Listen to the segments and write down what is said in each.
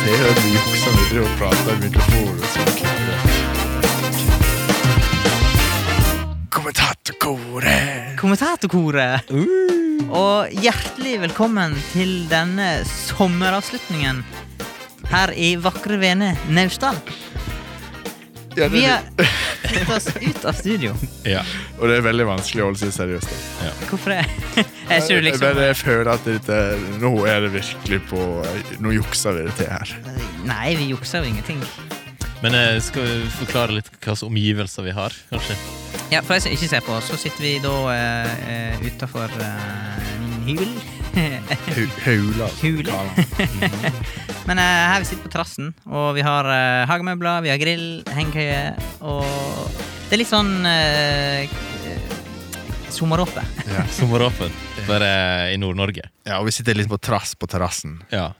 ser jo de som driver og prater i mikrofonen som kvinner. Kommentatorkoret! Kommentatorkoret! Uh, Og hjertelig velkommen til denne sommeravslutningen her i vakre Vene, Naustdal. ja, det Vi er, har tatt oss ut av studio. Ja. og det er veldig vanskelig å holde seg seriøs. da. Hvorfor det? Jeg tror Men liksom jeg føler at dette, nå er det virkelig på Nå jukser vi det til her. Nei, vi jukser jo ingenting. Men eh, skal vi forklare litt hva slags omgivelser vi har, kanskje? Ja, For de som ikke ser på, så sitter vi da eh, eh, utafor eh, min hybel. Hu- Hula. Hule. Mhm. Men eh, her vi sitter på terrassen, og vi har eh, hagemøbler, vi har grill, hengekøye og Det er litt sånn eh, eh, sommeråpe. Ja. Sommeråpen. Bare eh, i Nord-Norge. ja, og vi sitter litt på trass på terrassen. Ja.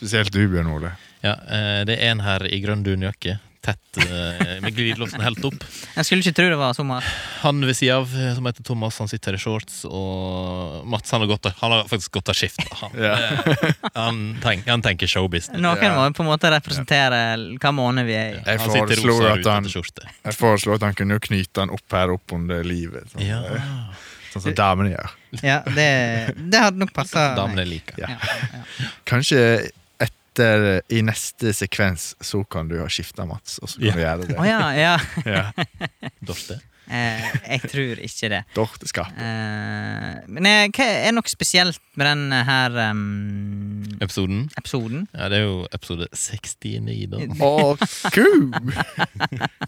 Spesielt du, Bjørn Ole. ja. eh, Det er en her i grønn dunjakke, tett eh, med glidelåsen helt opp. Jeg skulle ikke tro det var sommer. Han ved sida av, eh, som heter Thomas, han sitter i shorts, og Mats han har, gått, av- han har faktisk gått av skift. Han, Ja. eh, han, tenk, han tenker showbiz. Noen Ja. må jo på en måte representere hva måned vi er i. Jeg han sitter i foreslår rosa at han- rutete skjorte. Jeg foreslår at han kunne jo knyte den opp her opp under livet. Sånn, Ja. sånn som damene gjør. Ja, det, det hadde nok passa. Damene liker. Ja. Ja, ja. Kanskje etter i neste sekvens så kan du ha skifta, Mats, og så kan Ja. vi gjøre det. Å ja, ja. ja. Dorte. Eh, jeg tror ikke det. Dorteskap. Eh, men eh, hva er nok spesielt med denne her em, Episoden. episoden? Ja, det er jo episode 69, da. Å, ku!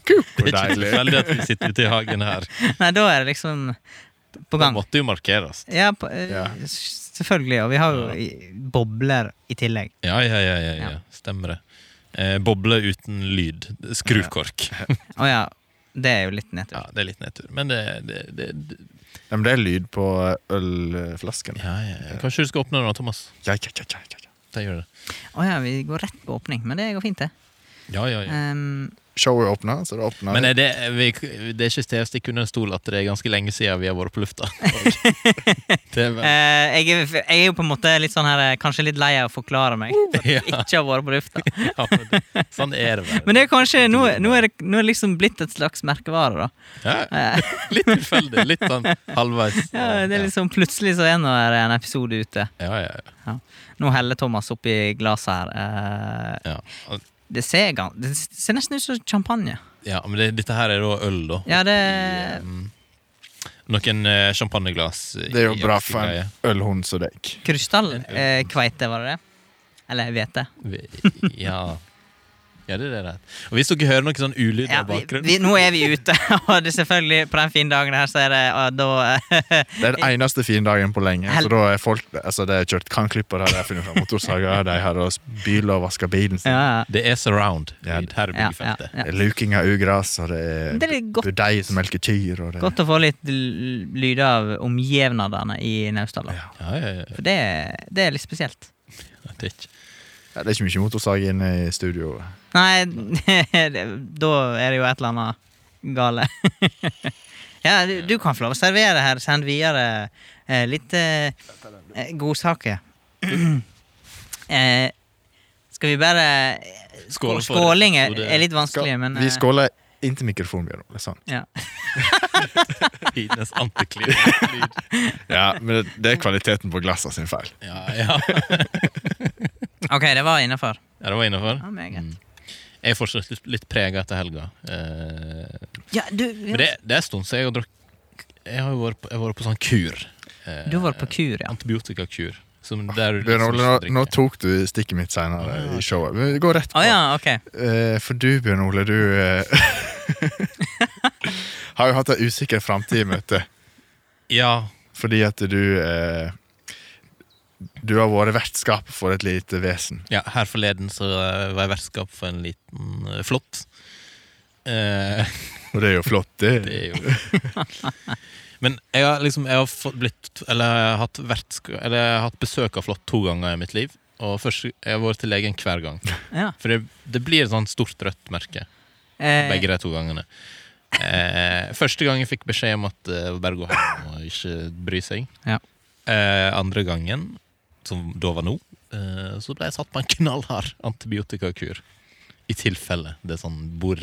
Ku, Det hvor er ikke deilig. tilfeldig at vi sitter ute i hagen her. Nei, da er det liksom på Det gang. måtte jo markeres. Ja, på, eh, Ja. s- selvfølgelig. Og vi har jo i- bobler i tillegg. Ja, ja, ja, ja, ja. Ja. stemmer det. Eh, boble uten lyd. Skruvkork. Å ja, det er jo litt nedtur. Ja, det er litt nedtur, men det, det, det, det Ja, men det er lyd på ølflasken. ja, ja, ja. Kanskje du skal åpne den da, Thomas? Ja, ja, ja, ja, ja, ja. Det gjør det. Å ja, vi går rett på åpning, men det går fint, det. Ehm, Ja, ja, ja. Em, Showet åpner, så det åpner. Eh, Men er det, vi, det er ikke til å stikke under en stol at det er ganske lenge siden vi har vært på lufta. Det er, vel- eh, jeg, er- jeg er jo på en måte litt sånn her eh, kanskje litt lei av å forklare meg. ja, Ikke har vært på lufta. ja, men det- sånn er det vel. Men det er kanskje, nå, nå, er det, nå er det liksom blitt et slags merkevare, da. ja, Eh, litt tilfeldig. Litt sånn halvveis. ja, det er liksom Plutselig så er nå er det en episode ute. Ja, ja, ja. Nå heller Thomas oppi glasset her. Eh, ja. Al- det, ser gan- det ser nesten ut som champagne. ja men det, dette her er da øl, da. Ja, I, det um, noen eh, champagneglass. i- Det er jo i bra aktig for greie. en ølhund som deg. Krystallkveite, eh, kveite, var det det? Eller hvete. Vi- Ja. ja, det er det. Og hvis dere hører noe sånn ulyd Ja, av vi, bakgrunnen vi, nå er vi ute, og det er selvfølgelig på den fine dagen her, så er det og da eh, Det er den eneste fine dagen på lenge. Hel- Så da er folk, altså det er kjørt kannklipper, de har funnet fram motorsager, de har også bil og vaska bilen sin. ja, Det er surround Ja. lyd her i ja, ja, byggefeltet. ja. Det er luking av ugras, og det er, Det er litt godt. budei som melker kyr. Og det, Godt å få litt l- lyder av omjevnadene i Naustdal. da. Ja. Ja, ja, ja. For det, det er litt spesielt. Det er ikke ja, det er ikke mye motorsag inne i studio. Nei, det- da er det jo et eller annet gale. ja, du, du kan få lov å servere her. Send videre eh, litt eh, eh, godsaker. eh, skal vi bare Skål for Skåling er, episode. er litt Skal, vanskelig, men eh, vi skåler inntil mikrofonen, Bjørn Ole. Sånn. Ja. tidenes antiklimaks-lyd. Ja, men det, det er kvaliteten på glassene sin feil. Ja, ja. Ok, det var innafor. Mm. ja, det var innafor. Ja, meget. Jeg er fortsatt litt, litt prega etter helga. Eh, Ja, du, men det, det er en stund siden jeg har drukket Jeg har jo vært på, jeg har vært på sånn kur. Eh, du har vært på kur, ja. Antibiotikakur. Som der du Bjørn liksom Ole, ikke nå, nå drikker. tok du stikket mitt senere i showet. Men gå rett Å på. ja, ok. Eh, for du, Bjørn Ole, du eh, har jo hatt en usikker framtid i møte. Ja. Fordi at du eh, Du har vært vertskap for et lite vesen. Ja, her forleden så eh, var jeg vertskap for en liten eh, flått. Eh, Og det er jo flott, det det. er jo Men jeg har liksom jeg har fått blitt Eller jeg har hatt, vertska, eller jeg har hatt besøk av flått to ganger i mitt liv. Og først, Jeg har vært til legen hver gang. Ja. For det, det blir et sånt stort rødt merke Eh, begge de to gangene. Eh, første gang jeg fikk beskjed om at eh, bare gå hjem og ikke bry seg. Ja. Eh, andre gangen, som da var nå, Eh, Så ble jeg satt på en knallhard antibiotikakur. I tilfelle det er sånn bor,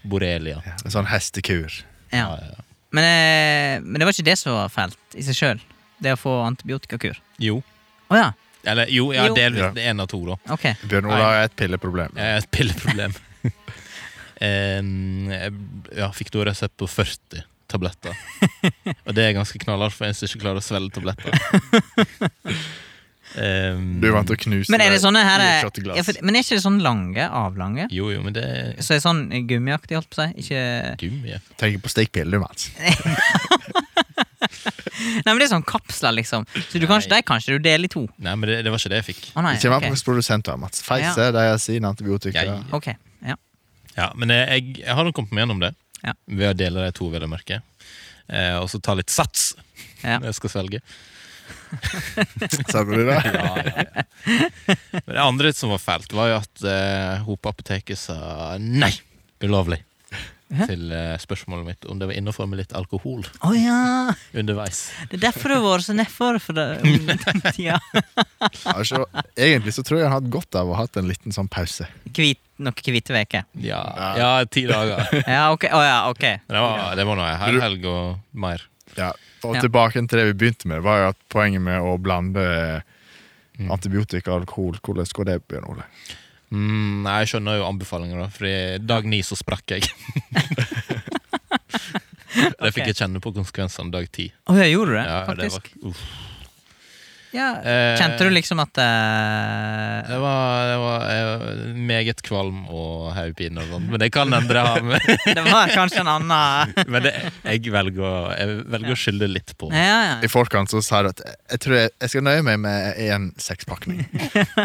borrelia. Ja, en sånn hestekur. Ja. Ja, ja, ja. Men, eh, men det var ikke det som var fælt i seg sjøl. Det å få antibiotikakur. Jo. Å ja. Eller jo, ja, Jo. delvis. Ja. Det er en av to, da. Ok. Bjørn Olav har et pilleproblem. Jeg er et pilleproblem. Em, jeg ja, fikk da resept på 40 tabletter. Og det er ganske knallhardt for en som ikke klarer å svelge tabletter. Em, Du er vant til å knuse Men er det deg sånne her i et eh, shotteglass. ja, for, Men er ikke det sånn lange? Avlange? Jo, jo, men det er Så er sånn gummiaktig, holdt på å si? Ikke gummi. Tenk på stikkpiller, du, Mats. Nei, men det er sånn kapsler, liksom. Så du kan ikke, Nei. de kan ikke du dele i to. Nei, men det, det var ikke det jeg fikk. Å nei, Ikke vær ok. på hos produsenter, Mats. Pfizer de har sin antibiotika. Jeg- Ok, ja. Ja, Men jeg, jeg, jeg har nå kommet meg gjennom det Ja. ved å dele de to, vil jeg merke. Eh, og så ta litt sats Ja. når jeg skal svelge. Sa du det? Ja, ja, ja. Men det andre som var fælt, var jo at eh, Hopeapoteket sa nei, ulovlig, Hæ? til eh, spørsmålet mitt om det var innafor med litt alkohol Å ja! underveis. Det er derfor du har vært så nedfor. For det. Ja. Altså, egentlig så tror jeg han hadde godt av å ha hatt en liten sånn pause. Kvit, noe hvite veker. Ja, Ja. ja ti dager. Men Ja, ok. Å ja, ok. Det var, det var nå en hel helg og mer. Ja, og Ja. tilbake til det vi begynte med, var jo at poenget med å blande eh, antibiotika og alkohol Hvordan går det, Bjørn Ole? Mm, nei, jeg skjønner jo anbefalinger, da, for dag ni så sprakk jeg. Det fikk jeg kjenne på konsekvensene dag ti. Å ja, gjorde du det? Ja, det Faktisk. var, uff. Ja. Eh, Kjente du liksom at eh, Det var, det var eh, meget kvalm og hodepine og sånn, men det kan endre ha med Det var kanskje en annen Men det, jeg velger, å- jeg velger å skylde litt på Ja, ja. I forkant så sa du at eh, jeg tror jeg, jeg skal nøye meg med én sekspakning.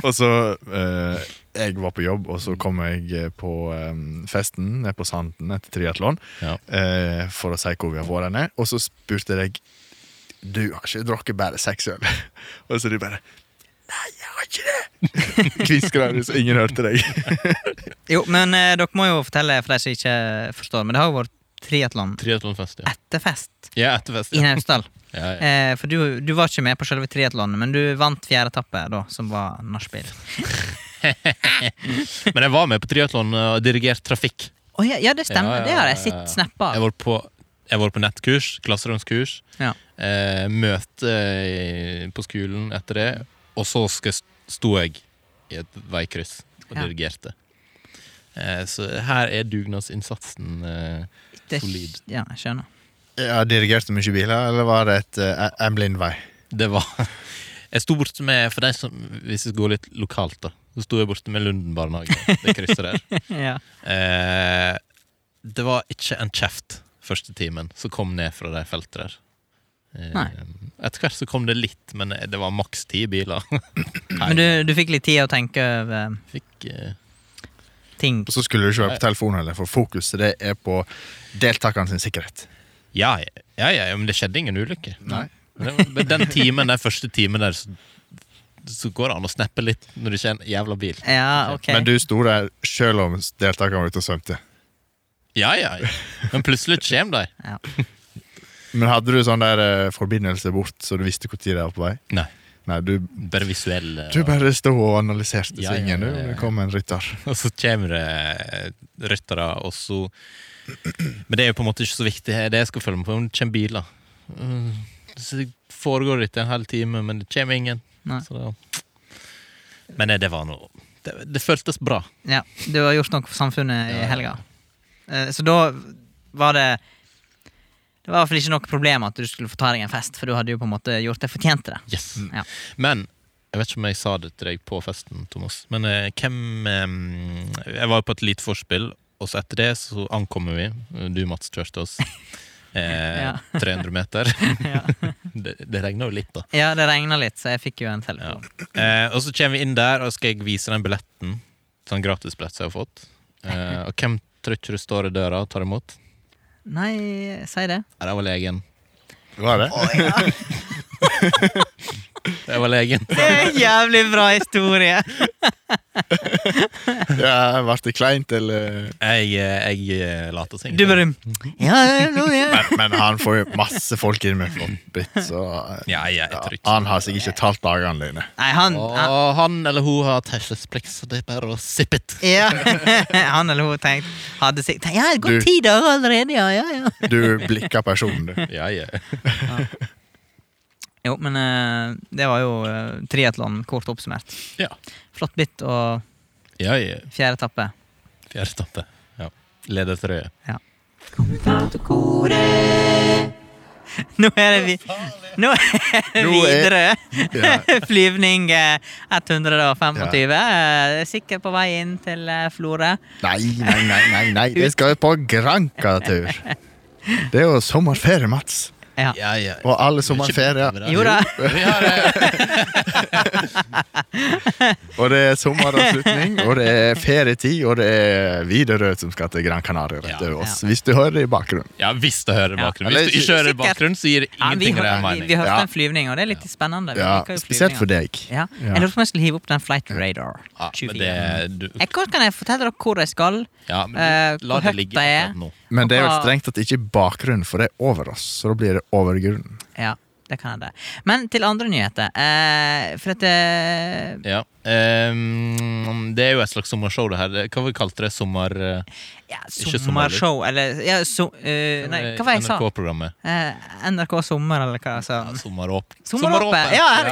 og så eh, Jeg var på jobb, og så kom jeg eh, på eh, festen nede på Sanden etter triatlon Ja. eh, for å si hvor vi har vært henne. Og så spurte jeg Du har ikke drukket bare seks øl? og så du bare Nei, jeg har ikke det! Kviskra du så ingen hørte deg. Jo, men eh, dere må jo fortelle for de som ikke forstår, men det har jo vært triatlon Triatlonfest, ja. etter fest Ja, etter fest. i Ja. Naustdal. Ja, ja. Eh, for du, du var ikke med på selve triatlonen, men du vant fjerde etappe, da, som var nachspiel. Men jeg var med på triatlon og dirigert trafikk. Å ja, ja, det stemmer. Ja, ja, Det har jeg ja, ja, ja. sett snappa Jeg av. var på, jeg var på nettkurs, klasseromskurs, Ja. eh, møte i- på skolen etter det, og så skal, sto jeg i et veikryss og Ja. dirigerte. Eh, så her er dugnadsinnsatsen eh, Det- solid. Ja, jeg skjønner. Ja, Dirigerte mye biler, eller var det et, eh, en blindvei? Det var Jeg sto borte med For de som, hvis vi går litt lokalt, da, så sto jeg borte med Lunden barnehage. Det krysset der. Ja. Eh, det var ikke en kjeft første timen som kom ned fra det feltet der. Eh, Nei. Etter hvert så kom det litt, men det var maks ti biler. Men du, du fikk litt tid å tenke over um, Fikk eh, ting. Og så skulle du ikke være på telefonen heller, for fokuset det er på deltakerne sin sikkerhet. ja, ja, ja, ja, men det skjedde ingen ulykke. Nei. Men det- Men den timen, den første timen der, så, så går det an å snappe litt når det ikke er en jævla bil. Ja, ok. Men du sto der selv om deltakerne var ute og svømte. Ja, ja, ja. Men plutselig kommer de. ja. Men hadde du sånn der eh, forbindelse bort, så du visste når de var på vei? Nei. Nei, du, Bare visuell. eh, du bare stod og analyserte Ja, ja, svingen, du, ja, ja, om ja. det kom en rytter. Og så kommer det eh, ryttere, og så Men det er jo på en måte ikke så viktig. Det jeg skal følge med på, er om det kommer biler. Mm, Så det foregår litt en halv time, men det kommer ingen. Nei. Så da. Men det var noe det, det føltes bra. ja. Du har gjort noe for samfunnet i Ja, ja. helga. Eh, Så da var det Det var i hvert fall ikke noe problem at du skulle få ta deg en fest, for du hadde jo på en måte gjort det fortjente det. Yes. Ja. Men jeg vet ikke om jeg sa det til deg på festen, Thomas, men eh, hvem eh, Jeg var på et lite forspill, og så etter det så ankommer vi. Du, Mats, kjørte oss eh, Ja. 300 meter. Ja, Det, det regna jo litt, da. ja det regna litt, så jeg fikk jo en Ja. telefon. Eh, og så kommer vi inn der, og skal jeg vise den billetten. Sånn gratisbillett som jeg har fått. Eh, og hvem tror ikke du står i døra og tar imot? Nei, si det. Nei, det var legen. Var det? Det var legen. Det er en jævlig bra historie! Ja, Ble det kleint, eller? Jeg, eh, jeg eh, later som Du bare Ja, ja, ja, ja. Men, men han får jo masse folk inn med flåttbitt, så eh, Ja, jeg, jeg tror ikke Han har sikkert ikke talt dagene dine. Nei, han, han Og han eller hun har taushetsplikt, så det er bare å zippe it. ja. Han eller hun tenkte hadde sikt, Ja, det har Du- gått ti dager allerede, ja, ja, ja. Du blikker personen, du. Ja, ja. Jo, men eh, det var jo uh, triatlon kort oppsummert. Ja. Flott bitt og ja, ja. fjerde etappe. Fjerde etappe. Ja. Ledertrøye. Nå er det vi Nå er det Nå videre. er- Ja. Flyvning eh, 125. Eh, sikkert på vei inn til eh, Florø. Nei, nei, nei, nei, nei. Vi skal jo på Granca-tur. Det er jo sommerferie, Mats. Ja. Ja, ja. Og alle sommerferier. Jo da. Vi har eh, Og det er sommeravslutning, og det er ferietid, og det er Widerøe som skal til Gran Canaria rett Ja. over oss. Hvis du hører det i bakgrunnen. Ja, hvis du hører Ja. bakgrunnen. Hvis du ikke hører Sikkert. bakgrunnen, så gir det Ja, vi, ingenting hør- av det vi, vi mening. hørte Ja. en flyvning, og det er litt spennende. Vi Ja, liker jo spesielt flyvninger. for deg. Ja. Ja. Jeg lurer på om jeg skal hive opp den flight radar. Ja, men 24. det, du, Jeg, kan kan jeg fortelle dere hvor jeg skal? ja, Eh, men du, la hvor det høyt ligge det er. akkurat nå. Men det er jo Og hva- strengt tatt ikke bakgrunnen, for det er over oss. Så da blir det overgrunnen. Ja, det kan jeg det. Men til andre nyheter. Eh, for at eh, Ja. ehm, det er jo et slags sommershow, det her. Hva vi kalte det? Sommer... eh, ja, Ikke sommerlig. Sommershow, eller ja, so, eh, Nei, hva var det jeg sa? NRK-programmet. Eh, NRK Sommer, eller hva jeg sa. Ja, sommeråp. Sommeråpent, ja, ja, ja.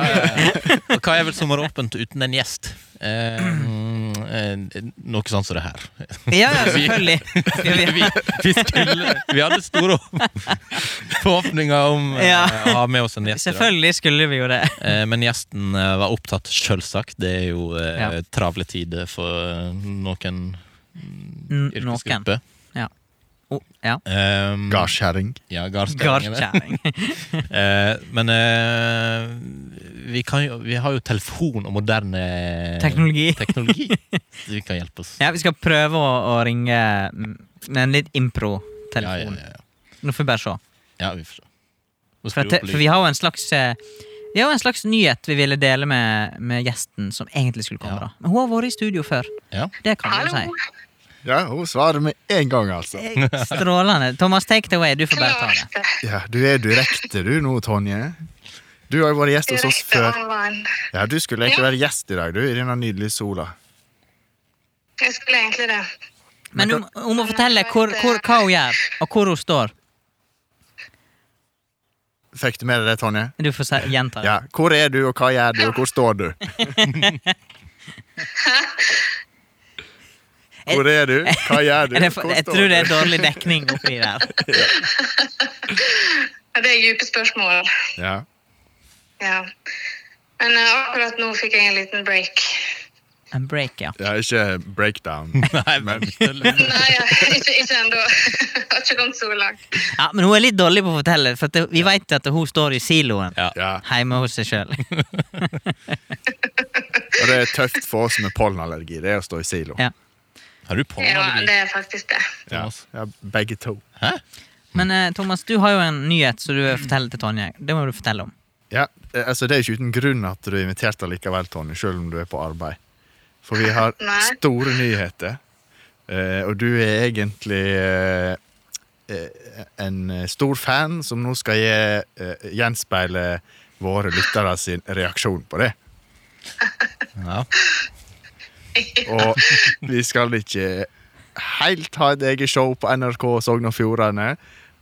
Og Hva er vel sommeråpent uten en gjest? Eh, mm, eh, noe sånt som det her. Ja, ja, selvfølgelig. Ja, Vi, vi- vi, skulle, vi hadde store forhåpninger om eh, Ja. å ha med oss en gjest. i dag. Selvfølgelig skulle vi jo det. Eh, men gjesten eh, var opptatt, sjølsagt. Det er jo eh, Ja. travle tider for eh, noen mm, N- noen. yrkesgrupper. Oh, ja. Um, Mm. Gardskjæring. Ja, gardskjæringene. Gardkjerring. Eh, men eh, vi, kan jo, vi har jo telefon og moderne Teknologi. teknologi. Så Du kan hjelpe oss. Ja, vi skal prøve å, å ringe mm, med en litt impro-telefon. Ja, ja, ja, Nå får vi bare se. ja. ja vi får se. Nå For, skal at, vi det- opp for vi har jo en slags eh, Vi har jo en slags nyhet vi ville dele med, med gjesten, som egentlig skulle komme. Ja. da Men hun har vært i studio før. lyd. ja. Det kan vi jo si. Ja, hun svarer med en gang, altså. Eh, Strålende. Thomas, take it away. Du får bare ta det. Klart. Ja, du er direkte du nå, Tonje. Du har jo vært gjest hos oss Direkte før. online. Ja, Du skulle egentlig være gjest i dag, du, i denne nydelige sola. Jeg skulle egentlig det. Men hun, hun må fortelle hvor, hvor, hva hun gjør, og hvor hun står. Fikk du med deg det, Tonje? Du får se- gjenta det. Ja. Hvor er du, og hva gjør du, og hvor står du? Hvor er du, hva gjør du, Er det for- hvor Jeg tror det er dårlig dekning oppi der. Ja, det er dype spørsmål. Ja. Ja. Men eh, akkurat nå fikk jeg en liten break. En break, ja. ja, ikke breakdown. Nei, men Nei, ja, ikke, ikke ennå. Har ikke kommet så langt. ja. Men hun er litt dårlig på å fortelle, for at det- vi vet at hun står i siloen ja. Ja. hjemme hos seg sjøl. Og det er tøft for oss med pollenallergi. Det er å stå i silo. Ja. Har du på Ja, deg det er faktisk det. Ja. Thomas? Ja, begge to. Hæ? Men eh, Thomas, du har jo en nyhet som du vil fortelle til Tonje. Det må du fortelle om. Ja, eh, altså Det er jo ikke uten grunn at du er invitert allikevel, Tonje, selv om du er på arbeid. For vi har Nei. store nyheter, eh, og du er egentlig eh, eh, en eh, stor fan som nå skal gi, eh, gjenspeile våre lyttere sin reaksjon på det. Ja. Og vi skal ikke helt ha et eget show på NRK Sogn og Fjordane,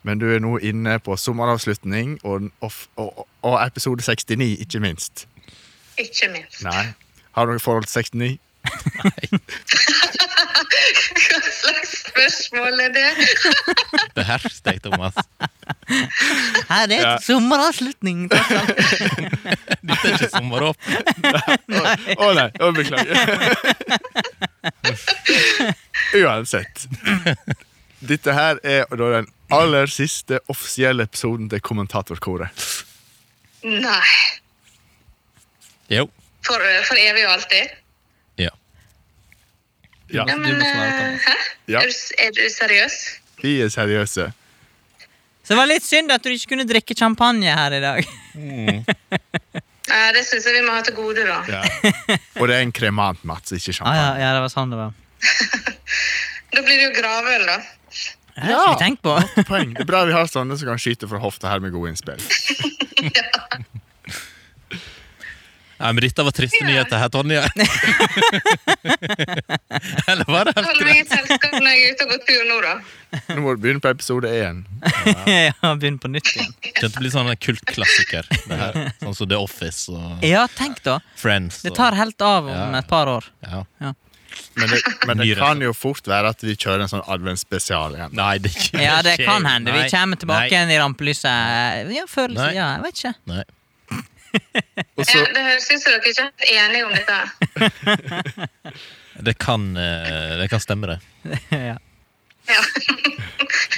men du er nå inne på sommeravslutning og, og, og, og episode 69, ikke minst. Ikke minst. Nei. Har du noe forhold til 69? Hva slags spørsmål er det? Behersk deg, Thomas. Her er et Ja. sommeravslutning! tross alt. Dette er ikke sommeråp. Å å nei, å, beklager. Uansett. Dette her er da den aller siste offisielle episoden til kommentatorkoret. Nei. Jo. For, eh, for evig og alltid? Ja. Ja, Ja, men eh, Hæ? Ja. Er, du, s- er du seriøs? vi er seriøse. Mm. Så det var litt synd at du ikke kunne drikke champagne her i dag. Nei, det syns jeg vi må ha til gode, da. Ja. Og det er en kremant, Mats, ikke Ah, ja, champagne. ja, det var sånn det var. Da blir det jo gravøl, da. Det har ikke vi tenkt på. Poeng. Det er bra vi har sånne som kan skyte fra hofta her med gode innspill. Nei, men dette var triste nyheter her, Tonje. Eller var det helt Hold greit? meg i selskap når jeg er ute og går tur nå, da. Nå må du begynne på episode én. ja, Begynn på nytt igjen. Kjente bli sånn en kultklassiker. det her. Sånn som The Office og Ja, tenk da. Friends. Det og- tar helt av Ja, om ja. et par år. ja. Men det, men det Ny kan jo fort være at vi kjører en sånn adventsspesial igjen. Nei, det gjør Ja, det ikke kan jeg. hende. Vi Nei, kommer tilbake Nei. igjen i rampelyset. Ja, følelse, Nei. ja, jeg vet ikke. Nei. Og Ja, så, det høres ut som dere ikke er helt enige om dette. Det kan, eh, det kan stemme, det. ja. Ja.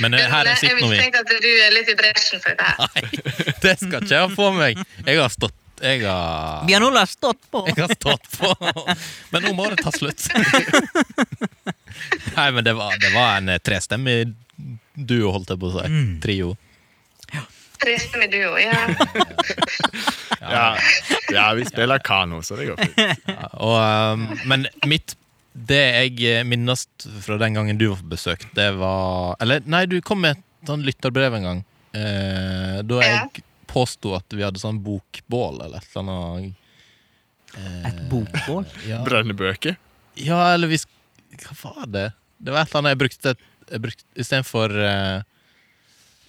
Men eh, her jeg sitter nå vi. mistenker at du er litt i bresjen for dette. her. Nei, det skal ikke jeg ha på meg. Jeg har stått Jeg har Bjørn Olav har stått på. Jeg har stått på. Men nå må det ta slutt. Nei, men det var, det var en eh, trestemmig duo, holdt jeg på å si. Trio. Trist med duo, ja. ja, ja, vi spiller kano, så det går fint. Ja, og, eh, men mitt Det jeg eh, minnes fra den gangen du var på besøk, det var Eller nei, du kom med et sånn lytterbrev en gang. Eh, da Ja. jeg påsto at vi hadde sånn bokbål eller et eller annet. eh, Et bokbål. Ja. Brennebøker. Ja, eller vi sk- Hva var det? Det var et eller annet jeg brukte, jeg brukte istedenfor uh,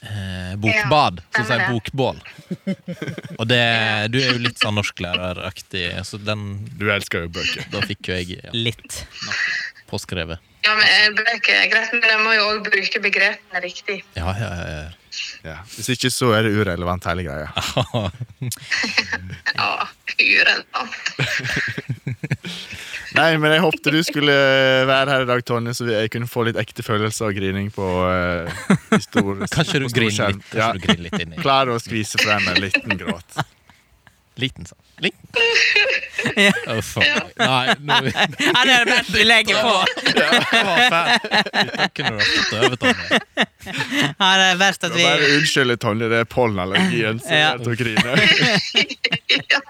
eh, bokbad, Ja, så sa jeg stemmer bokbål. Og det, du er jo litt sånn norsklæreraktig, så den Du elsker jo bøker. da fikk jo jeg ja, Litt. påskrevet. ja men eh, bøker er greit, men jeg må jo òg bruke begrepene riktig. Ja, ja, ja, Ja. Hvis ikke så er det urelevant, hele greia. ja. Ja, urelevant. Nei, men jeg håpte du skulle eh, være her i dag, Tonje, så vi- jeg kunne få litt ekte følelser og grining på uh, stor Kanskje du på stor griner skjerm. litt, Ja. kanskje du griner litt inni. Klarer å skvise frem en liten gråt. Liten sånn. Liten. Å, faen. Nei, nå Ja, det er det beste vi legger på. Det var fælt. Dette kunne du ha fått over, Tonje. Ja, det er verst Det at var Bare vi unnskyld, Tonje, det er pollenallergien som Ja. gjør at hun griner. Ja.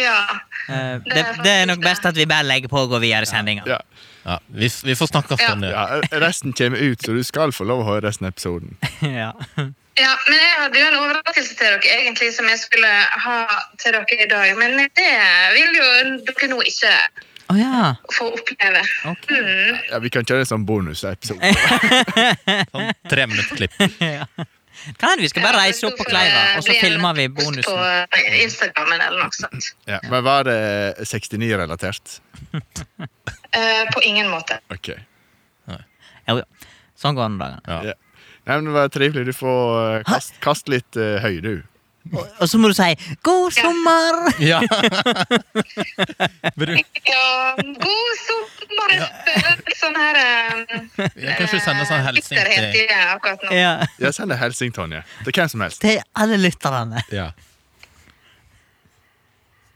ja. Eh, det, det er nok best at vi bare legger på og går videre i sendinga. Ja. Ja, vi, f- vi får snakke Ja. Tonje. Ja, resten kommer ut, så du skal få lov å høre resten av episoden. Ja. ja, men jeg hadde jo en overraskelse til dere egentlig som jeg skulle ha til dere i dag. Men det vil jo dere nå ikke Å ja. få oppleve. Ok. Mm. Ja, Vi kan kjøre en sånn bonusepisode. Sånn tre minutter klipp. Ja. Kan hende vi skal bare reise opp på Kleiva, og så filmer vi bonusen. På Instagramen eller noe sånt. Ja. Men var det 69-relatert? Eh, på ingen måte. Ok. Jo, jo. Sånn går det om dagene. Ja. Ja. Nei, men Det var trivelig. Du får eh, kast, kast litt eh, høy, du. Og, og så må du si 'god sommer'! Ja. Men du, Ja, god sommer! Jeg føler litt Sånn her eh, jeg kan ikke sende sånn hilsen bitterhet i til det akkurat nå. Ja. Ja, Send en hilsen, Tonje. Til hvem som helst. Til alle lytterne. ja.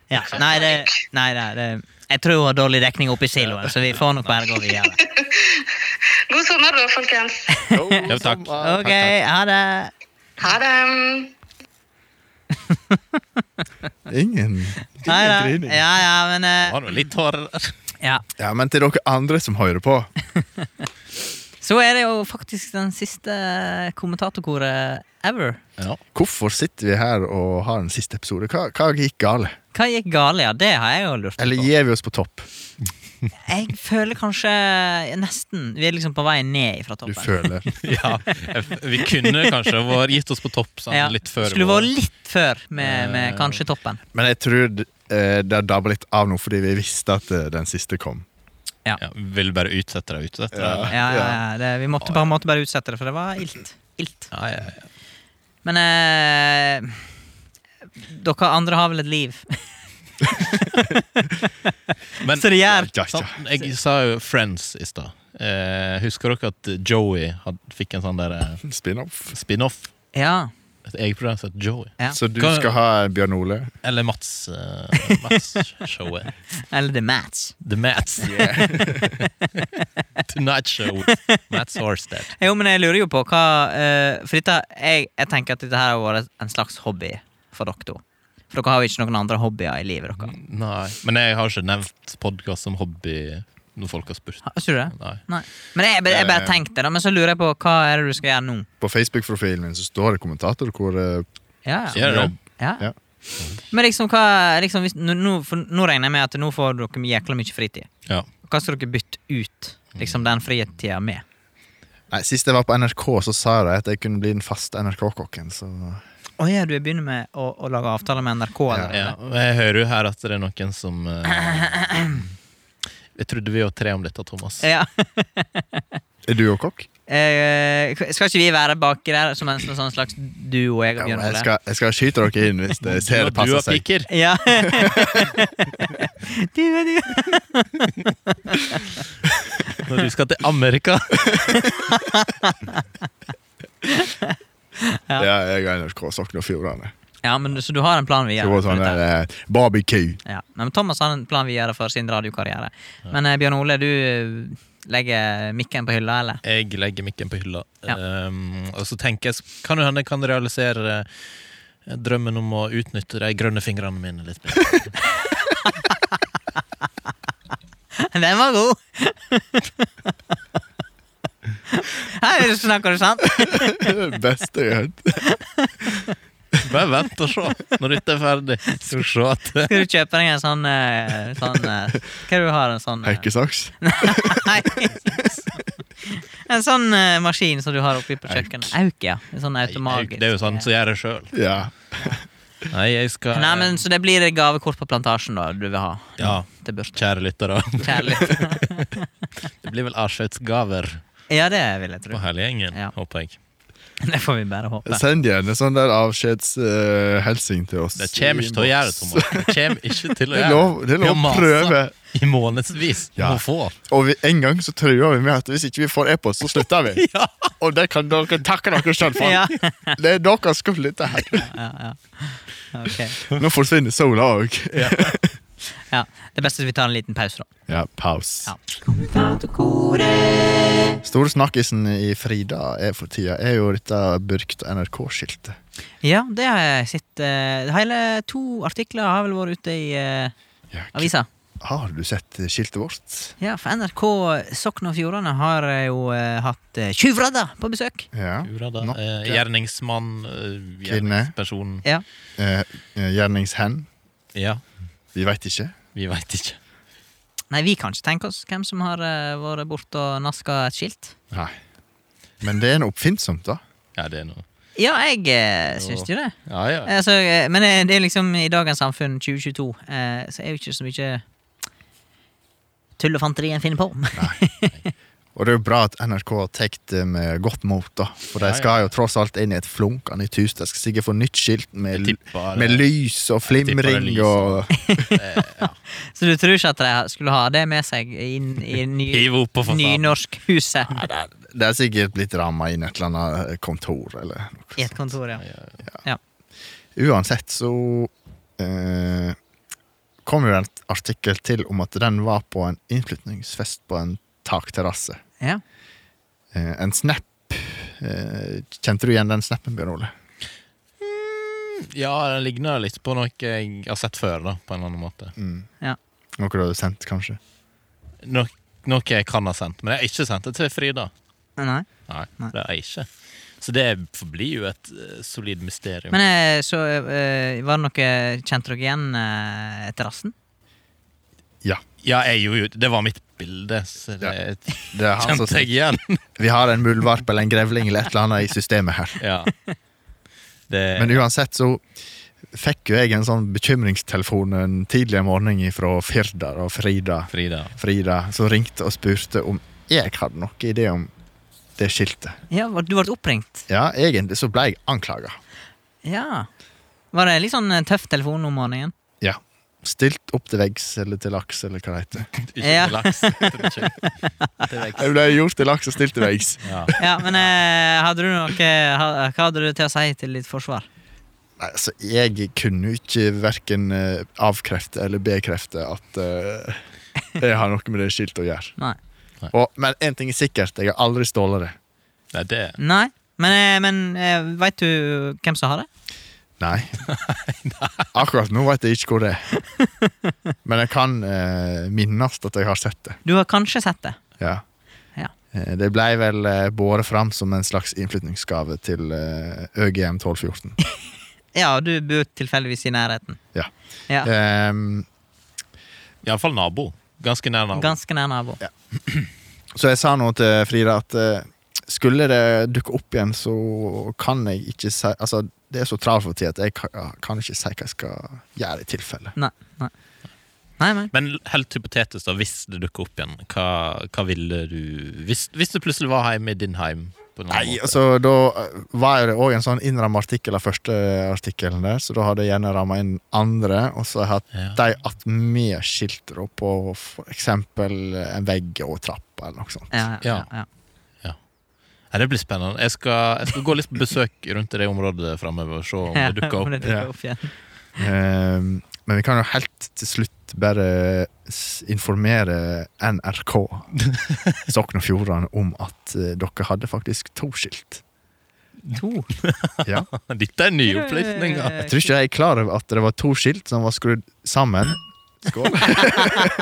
Ja. Nei, det, nei det, det Jeg tror hun har dårlig dekning oppe i siloen, så vi får nok bare gå videre. God sommer, da, folkens. Jo, Jo, takk. sommer. Ok, ha det. Ha det. Ingen, ingen Nei da. grining. Ja, ja, men eh, Var det litt hardere? Ja. Ja, men til dere andre som hører på. Så er det jo faktisk den siste kommentatorkoret ever. Ja. Hvorfor sitter vi her og har en siste episode? Hva, hva gikk galt? Hva gikk galt, ja? Det har jeg jo lurt Eller på. gir vi oss på topp? Jeg føler kanskje nesten Vi er liksom på vei ned fra Du toppen. føler ja. Vi kunne kanskje vært gitt oss på topp sånn, Ja, litt før. Skulle vår- vært litt før med, med Eh. kanskje toppen. Men jeg tror eh, det har dabba litt av nå fordi vi visste at eh, den siste kom. ja, Ville bare utsette det og utsette det. Ja. eller? Ja, ja, ja, det, vi måtte bare, måtte bare utsette det, for det var ilt. Ilt. Ja, ja, ja. Men eh, dere andre har vel et liv? Men Så det Ja, gjør ja. sant, jeg sa jo Friends i stad. Eh, husker dere at Joey had, fikk en sånn der eh, Spin-off. spin-off? Ja. Et eget program som het Joey. ja. Så du Hva- skal ha Bjørn Ole? Eller Mats. Eh, Mats-showet. Eller The Match. The Mats. Tonight Show. Mats Horsted. Jo, men jeg lurer jo på hva eh, For dette, jeg, jeg tenker at dette her har vært en slags hobby for dere to. For dere har jo ikke noen andre hobbyer i livet deres. Nei. Men jeg har ikke nevnt podkast som hobby når folk har spurt. Har ikke du det? Nei. Nei. Men jeg, jeg, jeg bare Eh. tenkte det, men så lurer jeg på hva er det du skal gjøre nå? På Facebook-profilen min så står det kommentator hvor eh, Ja, ja. Gjør det? ja. Ja. Men liksom, hva liksom, hvis, nå, nå, for, nå regner jeg med at nå får dere jækla mye fritid. Ja. Hva skal dere bytte ut liksom, den fritida med? Nei, Sist jeg var på NRK, så sa de at jeg kunne bli den faste NRK-kokken. Så Å ja, du begynner med å, å lage avtaler med NRK? Eller? Ja, og jeg hører jo her at det er noen som eh, Jeg trodde vi var tre om dette, Thomas. Ja. er du òg kokk? Eh, skal ikke vi være baki der som en sånn slags duo? Jeg Ja, men og Bjørn jeg, Ole? skal, jeg skal skyte dere inn hvis det ser det du passer har seg. piker. Ja. du, du. Når du skal til Amerika. Ja. jeg er NRK Sogn og Fjordane. ja, men Så du har en plan Det var videre? sånn der, eh, barbecue. Ja. Nei, men Thomas har en plan videre for sin radiokarriere. Men eh, Bjørn Ole, du eh, legger mikken på hylla, eller? Jeg legger mikken på hylla. Ja. Ehm, og så tenker jeg Kan jo hende jeg kan realisere eh, drømmen om å utnytte de grønne fingrene mine litt bedre. Den var god! Her snakker du sant? Det er det beste jeg har hørt. Bare vent og se når dette er ferdig. Skal du se at Skal du kjøpe deg en sånn, eh, sånn eh, Hva er det du har en sånn eh, Hekkesaks. Nei. En sånn eh, maskin som du har oppe på kjøkkenet. Auk, ja. En sånn automagisk. Det er jo sånn som gjør det sjøl. Ja. Nei, jeg skal Nei, men Så det blir et gavekort på Plantasjen da du vil ha Ja, til bursdag? kjære lyttere. Kjærlighet. Det blir vel avskjedsgaver Ja, det vil jeg tro. på hele gjengen, Ja. håper jeg. Det får vi bare håpe. Send gjerne sånn der avskjedshelsing til oss. Det kommer ikke til å gjøre det, Thomas. Det kommer ikke til å Det gjøre er lov, det er Vi lov har å masa prøve. I månedsvis. Ja. Må få. Og vi, en gang så trua vi med at hvis ikke vi får e-post, så slutter vi. Ja. Og det kan dere takke dere sjøl for. Ja, Det er deres skyld, dette her. ja, ja. Ok. Nå forsvinner sola òg. Ja. Det er best at vi tar en liten pause, da. Ja, paus. Ja. Store snakkisen i Frida er for tida er jo dette Burkt NRK-skiltet. Ja, det har jeg sett. eh, Hele to artikler har vel vært ute i eh, avisa. Har du sett skiltet vårt? Ja, for NRK Sogn og Fjordane har eh, jo eh, hatt eh, Tjuvradda på besøk. Ja. Ura da. Nok, Eh, ja. Gjerningsmann, eh, Kvinne. gjerningsperson Ja. Eh, eh, gjerningshen. Ja, Vi veit ikke. vi veit ikke. Nei, vi kan ikke tenke oss hvem som har eh, vært borte og naska et skilt. Nei. Men det er noe oppfinnsomt, da. Ja, det er noe Ja, jeg eh, syns jo det. Ja, ja. Eh, Altså, eh, men eh, det er liksom i dagens samfunn, 2022, eh, så er jo ikke så mye tullefanteri en finner på. Og det er jo bra at NRK har tatt det med godt mot, da. For de Ja, ja. skal jo tross alt inn i et flunkende hus. De skal sikkert få nytt skilt med, Jeg tipper det- med lys og Jeg tipper det er flimring lys og- og så du tror ikke at de skulle ha det med seg inn i ny, Hive opp på fasaden. nynorskhuset? Det er sikkert blitt ramma inn et eller annet kontor, eller noe. I et kontor, ja. Uansett så eh, kom jo det en artikkel til om at den var på en innflytningsfest på en takterrasse. ja. Eh, en snap. Eh, kjente du igjen den snappen, Bjørn Ole? Ja, den ligner litt på noe jeg har sett før, da, på en eller annen måte. Noe du hadde sendt, kanskje? No noe jeg kan ha sendt, men jeg har ikke sendt det til Frida. Nei. Nei, Nei. det har jeg ikke. Så det forblir jo et eh, solid mysterium. Men eh, så eh, var det noe Kjente dere igjen eh, terrassen? Ja. ja, jeg gjorde jo Det var mitt bilde, så det Det er han som kjente jeg igjen. Vi har en muldvarp eller en grevling eller et eller annet i systemet her. ja. Det, Men uansett så fikk jo jeg en sånn bekymringstelefon en tidlig morgen fra Firda og Frida, Frida. Frida som ringte og spurte om jeg hadde noe idé om det skiltet. Ja, var- Du ble oppringt? Ja, egentlig så ble jeg anklaga. Ja. Var det litt sånn eh, tøff telefon om morgenen? Ja. Stilt opp til veggs eller til laks eller hva det heter. Ikke Ja. til laks. Til veggs. Jeg ble gjort til laks og stilt til veggs. Ja. Ja, men eh, hadde du noe, ha, hva hadde du til å si til ditt forsvar? Nei, altså, jeg kunne jo ikke verken eh, avkrefte eller bekrefte at eh, jeg har noe med det skiltet å gjøre. Nei. Og, men én ting er sikkert, jeg har aldri stålet det. Nei, det Nei? Men, eh, men eh, veit du hvem som har det? Nei. Akkurat nå vet jeg ikke hvor det er. Men jeg kan eh, minnes at jeg har sett det. Du har kanskje sett det? Ja. Ja. Eh, Det ble vel eh, båret fram som en slags innflytningsgave til eh, ØGM 1214. Ja, du bor tilfeldigvis i nærheten. Ja. Ja, Ehm, Iallfall nabo. Ganske nær nabo. Ganske nær nabo. så jeg sa nå til Frida at eh, skulle det dukke opp igjen, så kan jeg ikke si Altså, det er så travelt for tida at jeg kan, kan ikke si hva jeg skal gjøre i tilfelle. Nei, nei. Nei, nei. Men helt hypotetisk, da, hvis det dukker opp igjen, hva, hva ville du hvis, hvis du plutselig var hjemme i din heim? På en eller annen Nei, måte. altså da eh, var jo det òg en sånn innramma artikkel av første eh, artikkelen der, så da hadde jeg gjerne ramma inn andre, og så hatt Ja. de attmed skiltet da, på for eksempel eh, en vegg og trappa eller noe sånt. Ja, ja, ja. Nei, det blir spennende. Jeg skal, jeg skal gå litt på besøk rundt i det området framover. Se om Ja, det dukker om opp. det dukker opp igjen. Ehm, men vi kan jo helt til slutt bare s- informere NRK, Sogn og Fjordane, om at eh, dere hadde faktisk to skilt. To. Ja. Dette er nye opplysninger! Jeg tror ikke jeg er klar over at det var to skilt som var skrudd sammen. Skål.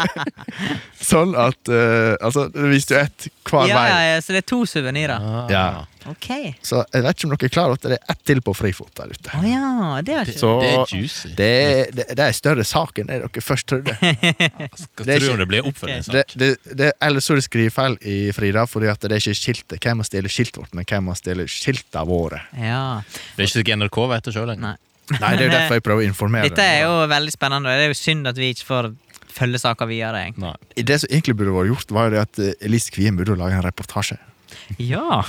sånn at eh, Altså, det viste jo ett hver Ja, ja, vei. ja, så det er to suvenirer. Ja. Ok. Så jeg vet ikke om dere er klar over at det er ett til på frifot der Å ute. ja, det var ikke Så Det det, er juicy. det, det er en større sak enn det dere først trodde. Skal det er tro ikke- om det blir Det, oppfølgingssak. det, det, ellers så er det skrivefeil i Frida, fordi at det er ikke skiltet hvem som stjeler skiltet vårt, men hvem som stjeler skiltene våre. Ja. Det er ikke sikkert NRK vet det sjøl Nei. engang. Nei, det er jo derfor jeg prøver å informere. Dette er jo veldig spennende, og det er jo synd at vi ikke får følge saka videre. egentlig. Nei. Det som egentlig burde vært gjort, var jo det at eh, Elise Kvien burde lage en reportasje. Ja.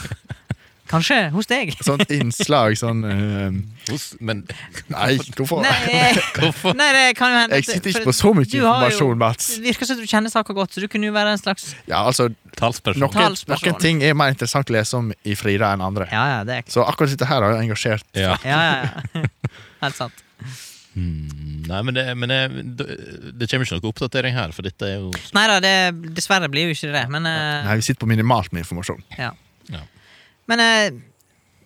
Kanskje hos deg. Sånt innslag, sånn eh, Hos- Men Nei, hvorfor? Nei, eh, hvorfor nei, det kan jo hende Jeg sitter ikke på så mye Du har jo- informasjon, Mats. Det virker som du kjenner saka godt, så du kunne jo være en slags Ja, altså, talsperson? noen, Talsperson. noen ting er mer interessant å lese om i Frida enn andre. Ja, ja, det er Så akkurat dette her har jeg engasjert. Ja. Ja, ja, ja. Helt sant. Mm, Nei, men, det, men det, det kommer ikke noe oppdatering her, for dette er jo Nei da, det, dessverre blir jo ikke det, men eh, Nei, vi sitter på minimalt med informasjon. ja. Ja. Men eh,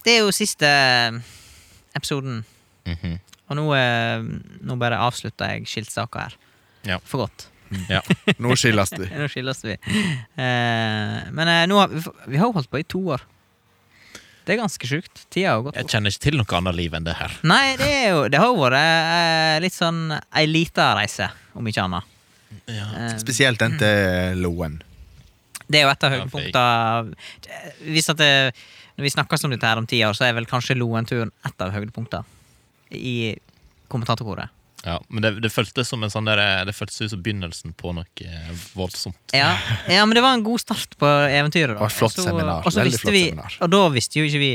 det er jo siste eh, episoden, Mhm. og nå, eh, nå bare avslutter jeg skiltsaka her. Ja. For godt. Ja. Nå skilles de. Nå skilles vi. Eh, men eh, nå har vi, vi har jo holdt på i to år. Det er ganske sjukt. Tida har jo gått. Jeg kjenner ikke til noe annet liv enn det her. Nei, det, er jo, det har jo vært eh, litt sånn ei lita reise, om ikke annet. Eh, Spesielt den til Loen. Det er jo et av Ja, høydepunktene Hvis at det, Når vi snakkes om dette her om ti år, så er vel kanskje Loen-turen et av høydepunktene i kommentatorkoret. Ja, men det, det føltes som en sånn der, det føltes ut som begynnelsen på noe eh, voldsomt. Ja, ja, men det var en god start på eventyret. da. Det var et flott Så- seminar. Og, så Veldig visste flott vi, seminar. og da visste jo ikke vi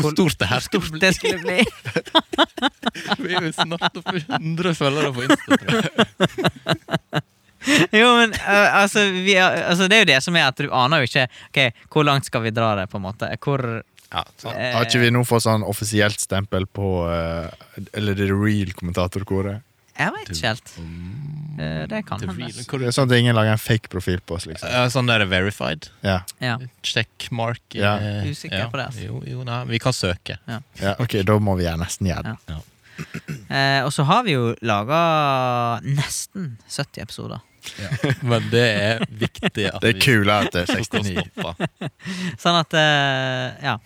Hvor stort det her hvor skulle stort bli! det skulle bli. Vi er jo snart oppe i 100 følgere på Instagram. Jo, men eh, altså, vi, er- altså Det er jo det som er at du aner jo ikke Ok, hvor langt skal vi dra det, på en måte. Hvor Ja, sant. eh, Har ikke vi nå fått sånn offisielt stempel på eh, Eller det real kommentatorkoret? Jeg vet ikke helt. Eh, Det kan Det hende. blir- Det er Sånn at ingen lager en fake profil på oss, liksom. Ja, sånn der verified. Ja, Ja. Checkmark. eh, Ja. Usikker på det, altså. Jo, jo, nei, vi kan søke. ja ok, da må vi gjøre nesten gjøre det. Eh, og så har vi jo laga nesten 70 episoder. Men det er viktig at Det er kulere at det er vi skal 69. stoppe. Sånn at eh, Ja.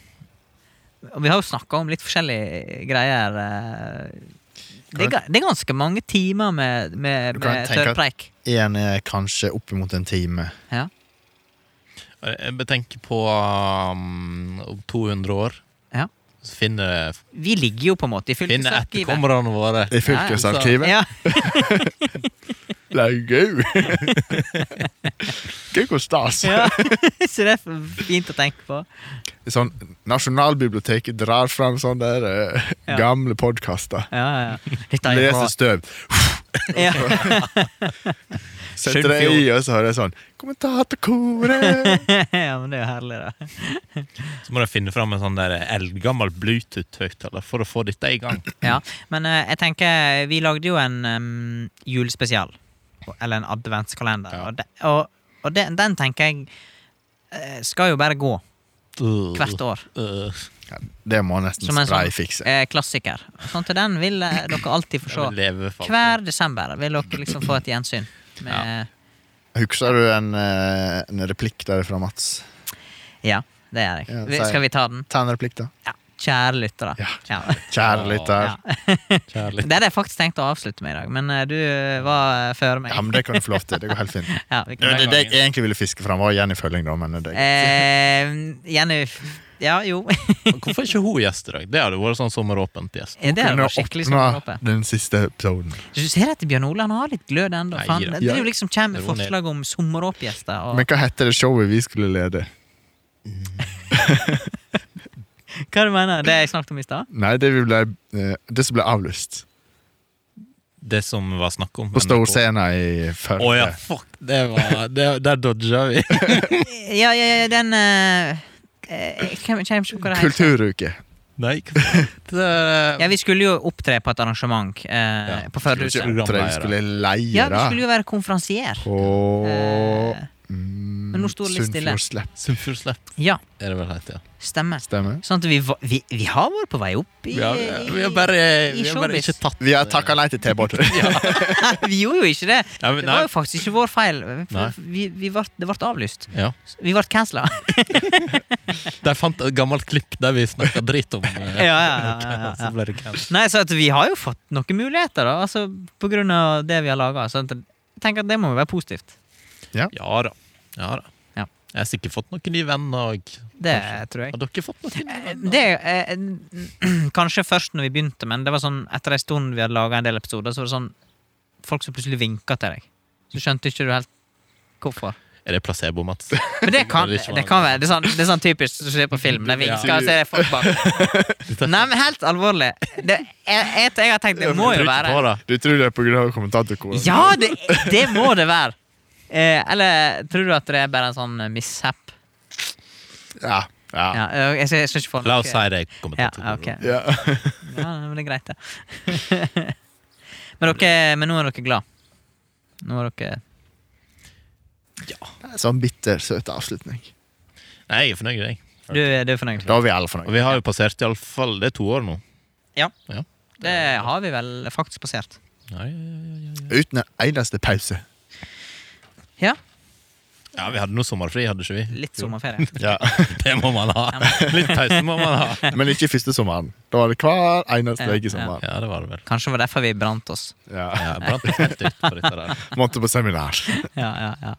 Og vi har jo snakka om litt forskjellige greier. eh. det, er, ga- det er ganske mange timer med, med, Du kan med tenke at- tørrpreik. Én er kanskje oppimot en time. Ja. Eh, Jeg bare tenker på um, om 200 år. Ja. Så finner, Vi ligger jo på en måte i finner fylkesarkivet. etterkommerne våre. I fylkesarkivet. Ja, Det er gøy! Gøy hvor stas. ja. Så det er fint å tenke på. sånn, Nasjonalbiblioteket drar fram sånne der, eh, Ja. gamle podkaster. Ja, ja, ja. Dette er jo bra. Leser støv. Ja. Setter det i, og så hører jeg sånn Kommentatorkoret! ja, men det er jo herlig, da. Så må de finne fram en sånn der eldgammel Bluetooth-høyttaler for å få dette i gang. Ja. Men eh, jeg tenker Vi lagde jo en em, julespesial. Eller en adventskalender. Ja. Og, de, og, og den- den tenker jeg eh, skal jo bare gå. hvert år. Øh, Ja, det må nesten Som en Spray sånn- fikse. Eh, klassiker. Sånn til den vil eh, dere alltid få jeg vil se. leve fast. Hver desember vil dere liksom få et gjensyn. Med, Husker du en, eh, en replikk der fra Mats? ja, det gjør jeg. Ja, Vi- sier- Skal vi ta den? Ta en replikk, da. Ja. Kjære lyttere. Ja. Ja. Kjære lytter. Ja. Kjærlig. Det hadde jeg faktisk tenkt å avslutte med i dag, men eh, du eh, var eh, før meg. Ja, men det kan du få lov til. Det går helt fint. Ja, vi Det, kan det, det jeg egentlig ville fiske fram, var Jenny Følling, da. Men det, eh, Jenny f- Ja, jo. Hvorfor er ikke hun gjest i dag? Det hadde vært sånn sommeråpent gjest. Det er jo skikkelig sommeråpent. den siste episoden. Du ser at Bjørn Ole han har litt glød ennå. Nei, for ja. Han driver liksom kommer med Det går ned. forslag om sommeråpgjester. Og, Men hva heter det showet vi skulle lede? hva du mener Det jeg snakket om i stad? Nei, det, vi ble, eh, det som ble avlyst. Det som var snakk om. På NRK. Storscena i Å Førde. ja, fuck! Det var det, Der dodga vi. Ja, ja, ja, den eh, eh, Jeg kommer kommer ikke på hva det heter. Kulturuke. Nei, hva faen? det, Ja, Vi skulle jo opptre på et arrangement eh, Ja, på Vi Førdehuset. skulle opptre, vi skulle Ja, vi leire skulle jo være konferansier. på Eh, men nå mm, står det litt stille. Sunnfjordslepp. Sunnfjordslepp ja, er det vel het, ja. stemmer. Stemmer. Sånn at vi, var- vi, vi har vært på vei opp i Vi har, vi har bare, i vi har bare showbiz. ikke tatt Vi har takka nei til T-båt. Vi gjorde jo ikke det! Ja, men Det nei. var jo faktisk ikke vår feil. Nei. Vi, vi var, det ble avlyst. Ja. Vi ble cancella. Der fant jeg et gammelt klipp der vi snakka dritt om eh, ja, ja, ja, ja, Så ja. ble det cancel. Nei, så at vi har jo fått noen muligheter, da. Altså, på grunn av det vi har laga. Jeg tenker at det må jo være positivt. Ja da. Ja da. Ja. Jeg har sikkert fått noen nye venner òg. Det tror jeg. Har dere fått noen nye venner? Det, eh, n- kanskje først når vi begynte, men det var sånn etter ei stund vi hadde laga en del episoder, så var det sånn folk som plutselig vinka til deg. Så skjønte ikke du helt hvorfor. Er det placebo, Mats? Men det kan, Det er ikke det kan være. Det er sånn, det er sånn typisk som skjer på film. De vinker, og så er det folk bak. Nei, men helt alvorlig. Det, jeg, jeg, jeg har tenkt det må jo Trykker på, være da. Du tror det er pga. kommentatorkoret? Ja, det, det må det være! Eh, eller tror du at det er bare en sånn eh, mishap? Ja. ja. Ja, eh, jeg, skal- jeg skal ikke få La oss si noe- det Ja, kommentator. ok. Ja. Ja, men det er greit, det. men, dere, men nå er dere glad. Nå er dere Sånn bitter søt avslutning. Nei, jeg er fornøyd, jeg. Du, er- du er fornøyd? Da er vi alle Og fornøyd. vi har jo passert i alle fall, Det er to år nå. Ja. Ja. Det har vi vel faktisk passert. Ja, ja, ja, ja, ja. Uten en eneste pause. Ja, ja, vi hadde noe sommerfri, hadde ikke vi? litt sommerferie. Det må man ha. Litt pause må man ha. Men ikke første sommeren. Da var det hver eneste Ja, uke i sommeren. Ja, det var det vel. Kanskje det var derfor vi brant oss. Ja. Ja, jeg brant meg helt ut på dette der. Måtte på seminar. Ja, ja, ja.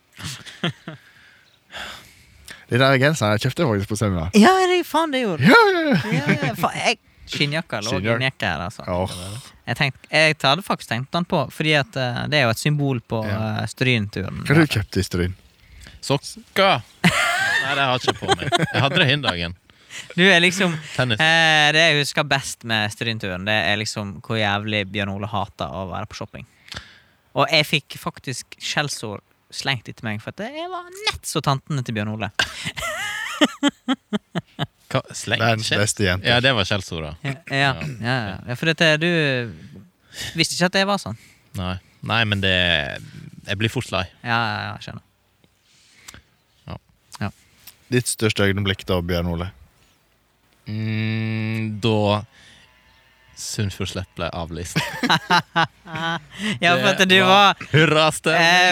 Den der genseren jeg kjøpte faktisk på seminar. Ja, det, faen, det gjorde Ja, ja, ja. ja, ja, faen, jeg. Skinnjakka lå Skinnjakk. inni her, altså. Åh, Jeg, tenkte- jeg hadde faktisk tenkt den på, fordi at eh, det er jo et symbol på Ja. eh, Strynturen. Hva du kjøpte i Stryn? Sokker! Nei, det har jeg ikke på meg. Jeg hadde det den dagen. Du er liksom Tennis. eh, Det jeg husker best med Strynturen, det er liksom hvor jævlig Bjørn Ole hater å være på shopping. Og jeg fikk faktisk skjellsord slengt etter meg, for at jeg var nett så tantene til Bjørn Ole. Hva? Sleng? Verdens Skjell? beste jente. Ja, det var skjellsordet. Ja, ja, ja, ja. For dette, du visste ikke at jeg var sånn. Nei. Nei, men det Jeg blir fort lei. Ja, ja, ja, jeg skjønner. Ditt største øyeblikk da, Bjørn Ole? Mm, da Sunnfjordslepp ble avlyst. Ja, for at du var Hurrastemning!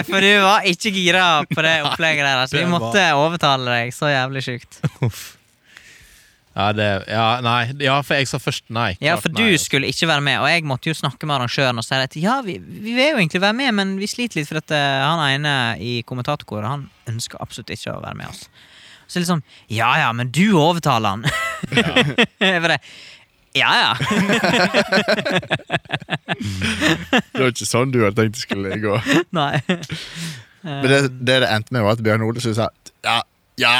eh, For du var ikke gira på det opplegget der. Altså. Vi Det var- måtte overtale deg så jævlig sjukt. Ja, det Ja, nei. Ja, for jeg sa først nei. Ja, Klart altså. for nei. du skulle ikke være med, og jeg måtte jo snakke med arrangøren og si at ja, vi, vi vil jo egentlig være med, men vi sliter litt for at eh, han ene i kommentatorkoret han ønsker absolutt ikke å være med oss. Så liksom Ja ja, men du overtaler han! Jeg bare, ja ja. Det var ikke sånn du hadde tenkt det skulle gå. Nei. Men det det, det endte med, var at Bjørn Ole syntes at ja, ja,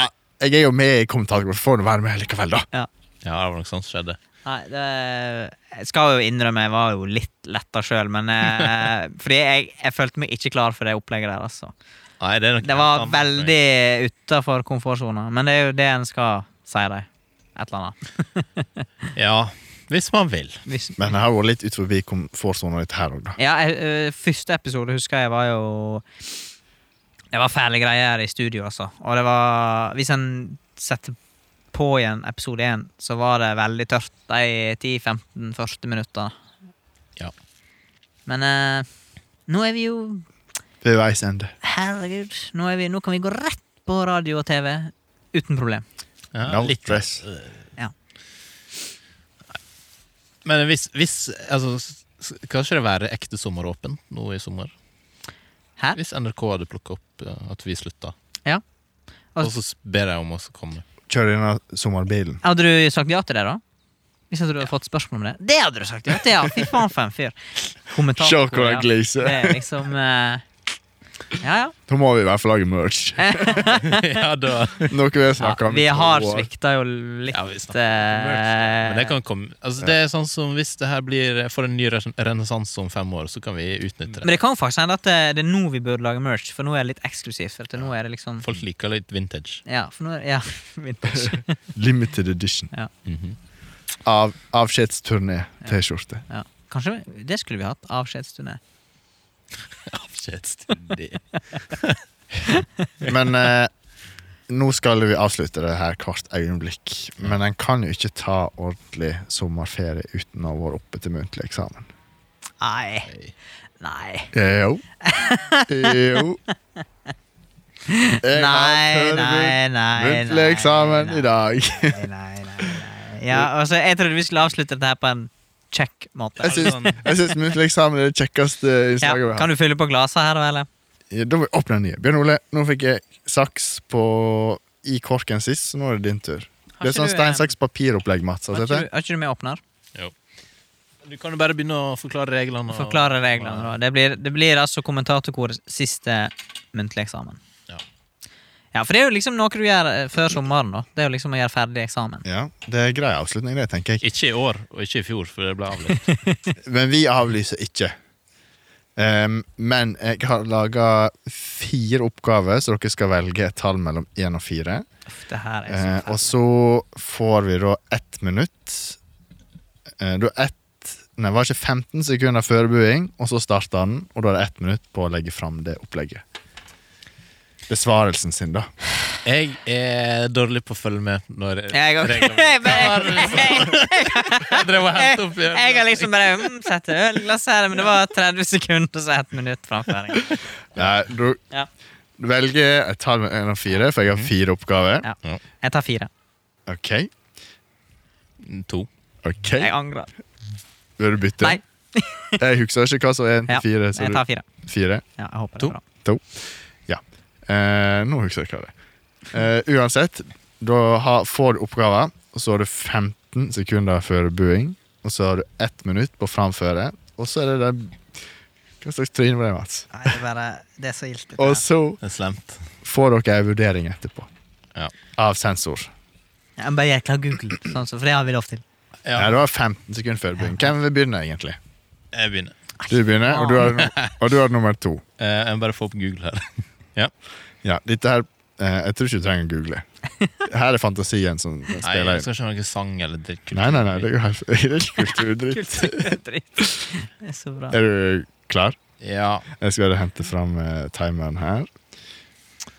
jeg er jo med i kommentatorgruppen, får nå være med likevel, da. Ja, det var noe sånt som skjedde. Nei, det, jeg skal jo innrømme jeg var jo litt letta sjøl, men eh, Fordi jeg, jeg følte meg ikke klar for det opplegget der, altså. Nei, det, er nok Det helt var annet for meg. veldig utafor komfortsona, men det er jo det en skal si dem. Et eller annet. Ja, hvis man vil. Hvis, Men jeg har vært litt ut forbi komfortsona litt her òg, da. Ja, jeg, ø, første episode husker jeg var jo Det var fæle greier i studio, altså. Og det var Hvis en setter på igjen episode 1, så var det veldig tørt de 10-15 første minuttene. Ja. Men eh, nå er vi jo Ved veis ende. Herregud, nå, er vi, nå kan vi gå rett på radio og TV uten problem. Ja, No litt. stress. Ja. Men hvis, hvis altså, s- s- Kan ikke det være ekte sommeråpent nå i sommer? Hæ? Hvis NRK hadde plukka opp eh, at vi slutta, Ja. og så s- ber de om oss å komme. Kjøre denne sommerbilen. Hadde du sagt ja til det, da? Hvis ikke du hadde fått spørsmål om det? Det hadde du sagt ja til, ja! Fy faen, for en fyr. Kommentator, Se hvor jeg ja. Det gliser. er liksom eh, Ja, ja. Da må vi i hvert fall lage merch. ja, da Noe vi har snakka ja om. i vi to har år. svikta jo litt Ja, vi snakker eh, Men det kan komme altså, Det er sånn som hvis det her blir eh, får en ny res- renessanse om fem år, så kan vi utnytte Men det. det kan jo faktisk hende at det, det er nå vi burde lage merch, for nå er det litt eksklusivt. For at nå er det liksom Folk liker litt vintage. Ja, for nå er, ja, vintage. Limited edition. Mhm. Av Avskjedsturné-T-skjorte. Ja. Kanskje vi- det skulle vi hatt. Avskjedsturné. Avskjedsturné. Men eh, nå skal vi avslutte det her hvert øyeblikk. Men en kan jo ikke ta ordentlig sommerferie uten å være oppe til muntlig eksamen. Nei. Nei. Jo. Jo. Jeg har Nei, nei, forberedt nei, muntlig eksamen nei, i dag. Nei, nei, nei, nei. Ja, altså, jeg trodde vi skulle avslutte dette her på en kjekk måte. Jeg syns, jeg syns muntlig eksamen er det kjekkeste Ja, innslaget vi har. kan du fylle på glasa her, da, eller? Ja, Eh, Da må vi åpne en ny. Bjørn Ole, nå fikk jeg saks på i korken sist, så nå er det din tur. Har Det er ikke sånn du, eh, stein, saks, papir-opplegg, Mats. Har Altså, ikke, du- har ikke du med åpner? Jo. Du kan jo bare begynne å forklare reglene. og- Forklare reglene, da. Det blir, det blir altså kommentatorkorets siste muntlige eksamen. Ja. Ja, for det er jo liksom noe du gjør eh, før sommeren, da. Det er jo liksom å gjøre ferdig eksamen. ja, det er grei avslutning, det, tenker jeg. Ikke i år, og ikke i fjor, for det ble avlyst. Men vi avlyser ikke. Ehm, men jeg har laga fire oppgaver, så dere skal velge et tall mellom én og fire. Uff, det her er så Eh, og fælt. så får vi da ett minutt. Eh, da ett Nei, var det ikke 15 sekunder forbereding, og så starter den, og da er det ett minutt på å legge fram det opplegget. Besvarelsen sin, da. Jeg er dårlig på å følge med når Jeg har- Jeg bare- Jeg drev og hentet opp jeg- jeg har liksom bare mm, sett ølglass her, men det var 30 sekunder så ett minutt framføring. Nei, Eh, du Ja. du velger et tall mellom én og fire, for jeg har fire oppgaver. Mhm. Ja. Jeg tar fire. OK. To. ok Jeg angrer. Vil du bytte? Nei, Jeg husker ikke hva som er én Ja, til fire. Så jeg tar du, fire. fire. Ja, jeg håper det To. er bra. Eh, nå husker jeg ikke hva det er. Eh, uansett, da har, får du oppgaver, og så har du 15 sekunder før buing, og så har du ett minutt på å framføre, og så er det den Hva slags tryne var det, Mats? Nei, det er bare Det er så gildt. dette Og her. så Det er slemt. får dere en vurdering etterpå. Ja. Av sensor. Jeg må bare jækla google, sånn, så- for det har vi lov til. Ja. Nei, du har 15 sekunder før buing. Hvem vil begynne, egentlig? Jeg begynner. Du begynner, og du har, og du har nummer to. Eh, Jeg må bare få opp Google her. Ja, dette her eh, Jeg tror ikke du trenger å google. Her er fantasien som Nei, spiller inn. jeg skal ikke ha noe sang eller dritt. Nei, nei, nei, det er jo helt det er ikke kulturdritt. Kulturdritt. Det er så bra. Er du klar? Ja. Jeg skal bare hente fram eh, timeren her.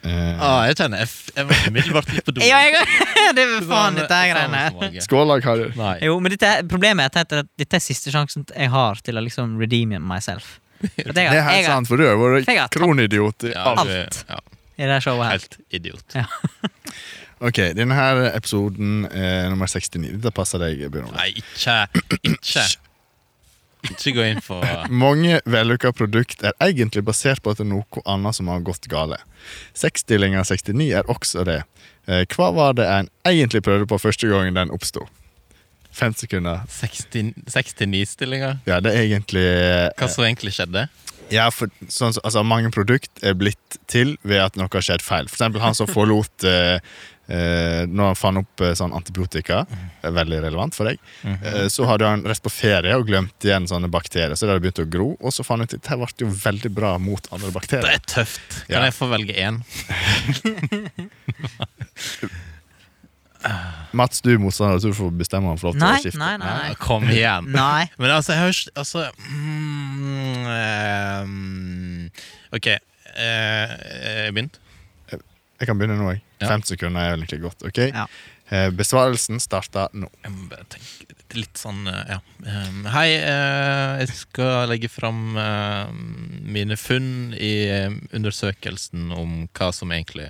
Eh, Ah, jeg kjenner jeg, f- jeg var umiddelbart litt på do. Ja, jeg Det er vel faen, dette her greiene. Eksamensmage. Skål, da, karer. Nei. Jo, men dette, problemet er at dette- dette er siste sjansen jeg har til å liksom redeem myself. For at jeg Det har- er jeg helt har sant, for du har vært Jeg har tapt. kronidiot i Ja, alt. du er- Alt. Ja, I det her showet her. helt idiot. Ok, denne her episoden er nummer 69. Dette passer deg, Bjørn Ole. Nei, ikke Ikke. Ikke gå inn på Mange vellykka produkt er egentlig basert på at det er noe annet som har gått gale. Sexstillinga 69 er også det. Eh, hva var det en egentlig prøvde på første gangen den oppsto? Fem sekunder. 69-stillinger. Ja, det er egentlig eh, Hva som egentlig skjedde? Ja, for sånn, som- altså, mange produkt er blitt til ved at noe har skjedd feil. For eksempel han som forlot eh, eh, Når han fant opp eh, sånn antibiotika, det er veldig relevant for deg, eh, så hadde han rett på ferie og glemt igjen sånne bakterier. Så det hadde begynt å gro, og så fant han ut at det ble jo veldig bra mot andre Det bakterier. er tøft. Ja. Kan jeg få velge én? Mats, du er motstander, så du får bestemme om du får lov til Nei, å skifte. nei, nei. Ja, Kom igjen. Nei. Men altså, jeg hører ikke Altså mm, ehm, Ok. eh, Jeg begynte. Jeg kan begynne nå, jeg. Ja. 50 sekunder er vel egentlig godt. ok? Ja. Eh, Besvarelsen starter nå. Jeg må bare tenke det er litt sånn eh, ja. Um, Hei, eh, jeg skal legge fram eh, mine funn i eh, undersøkelsen om hva som egentlig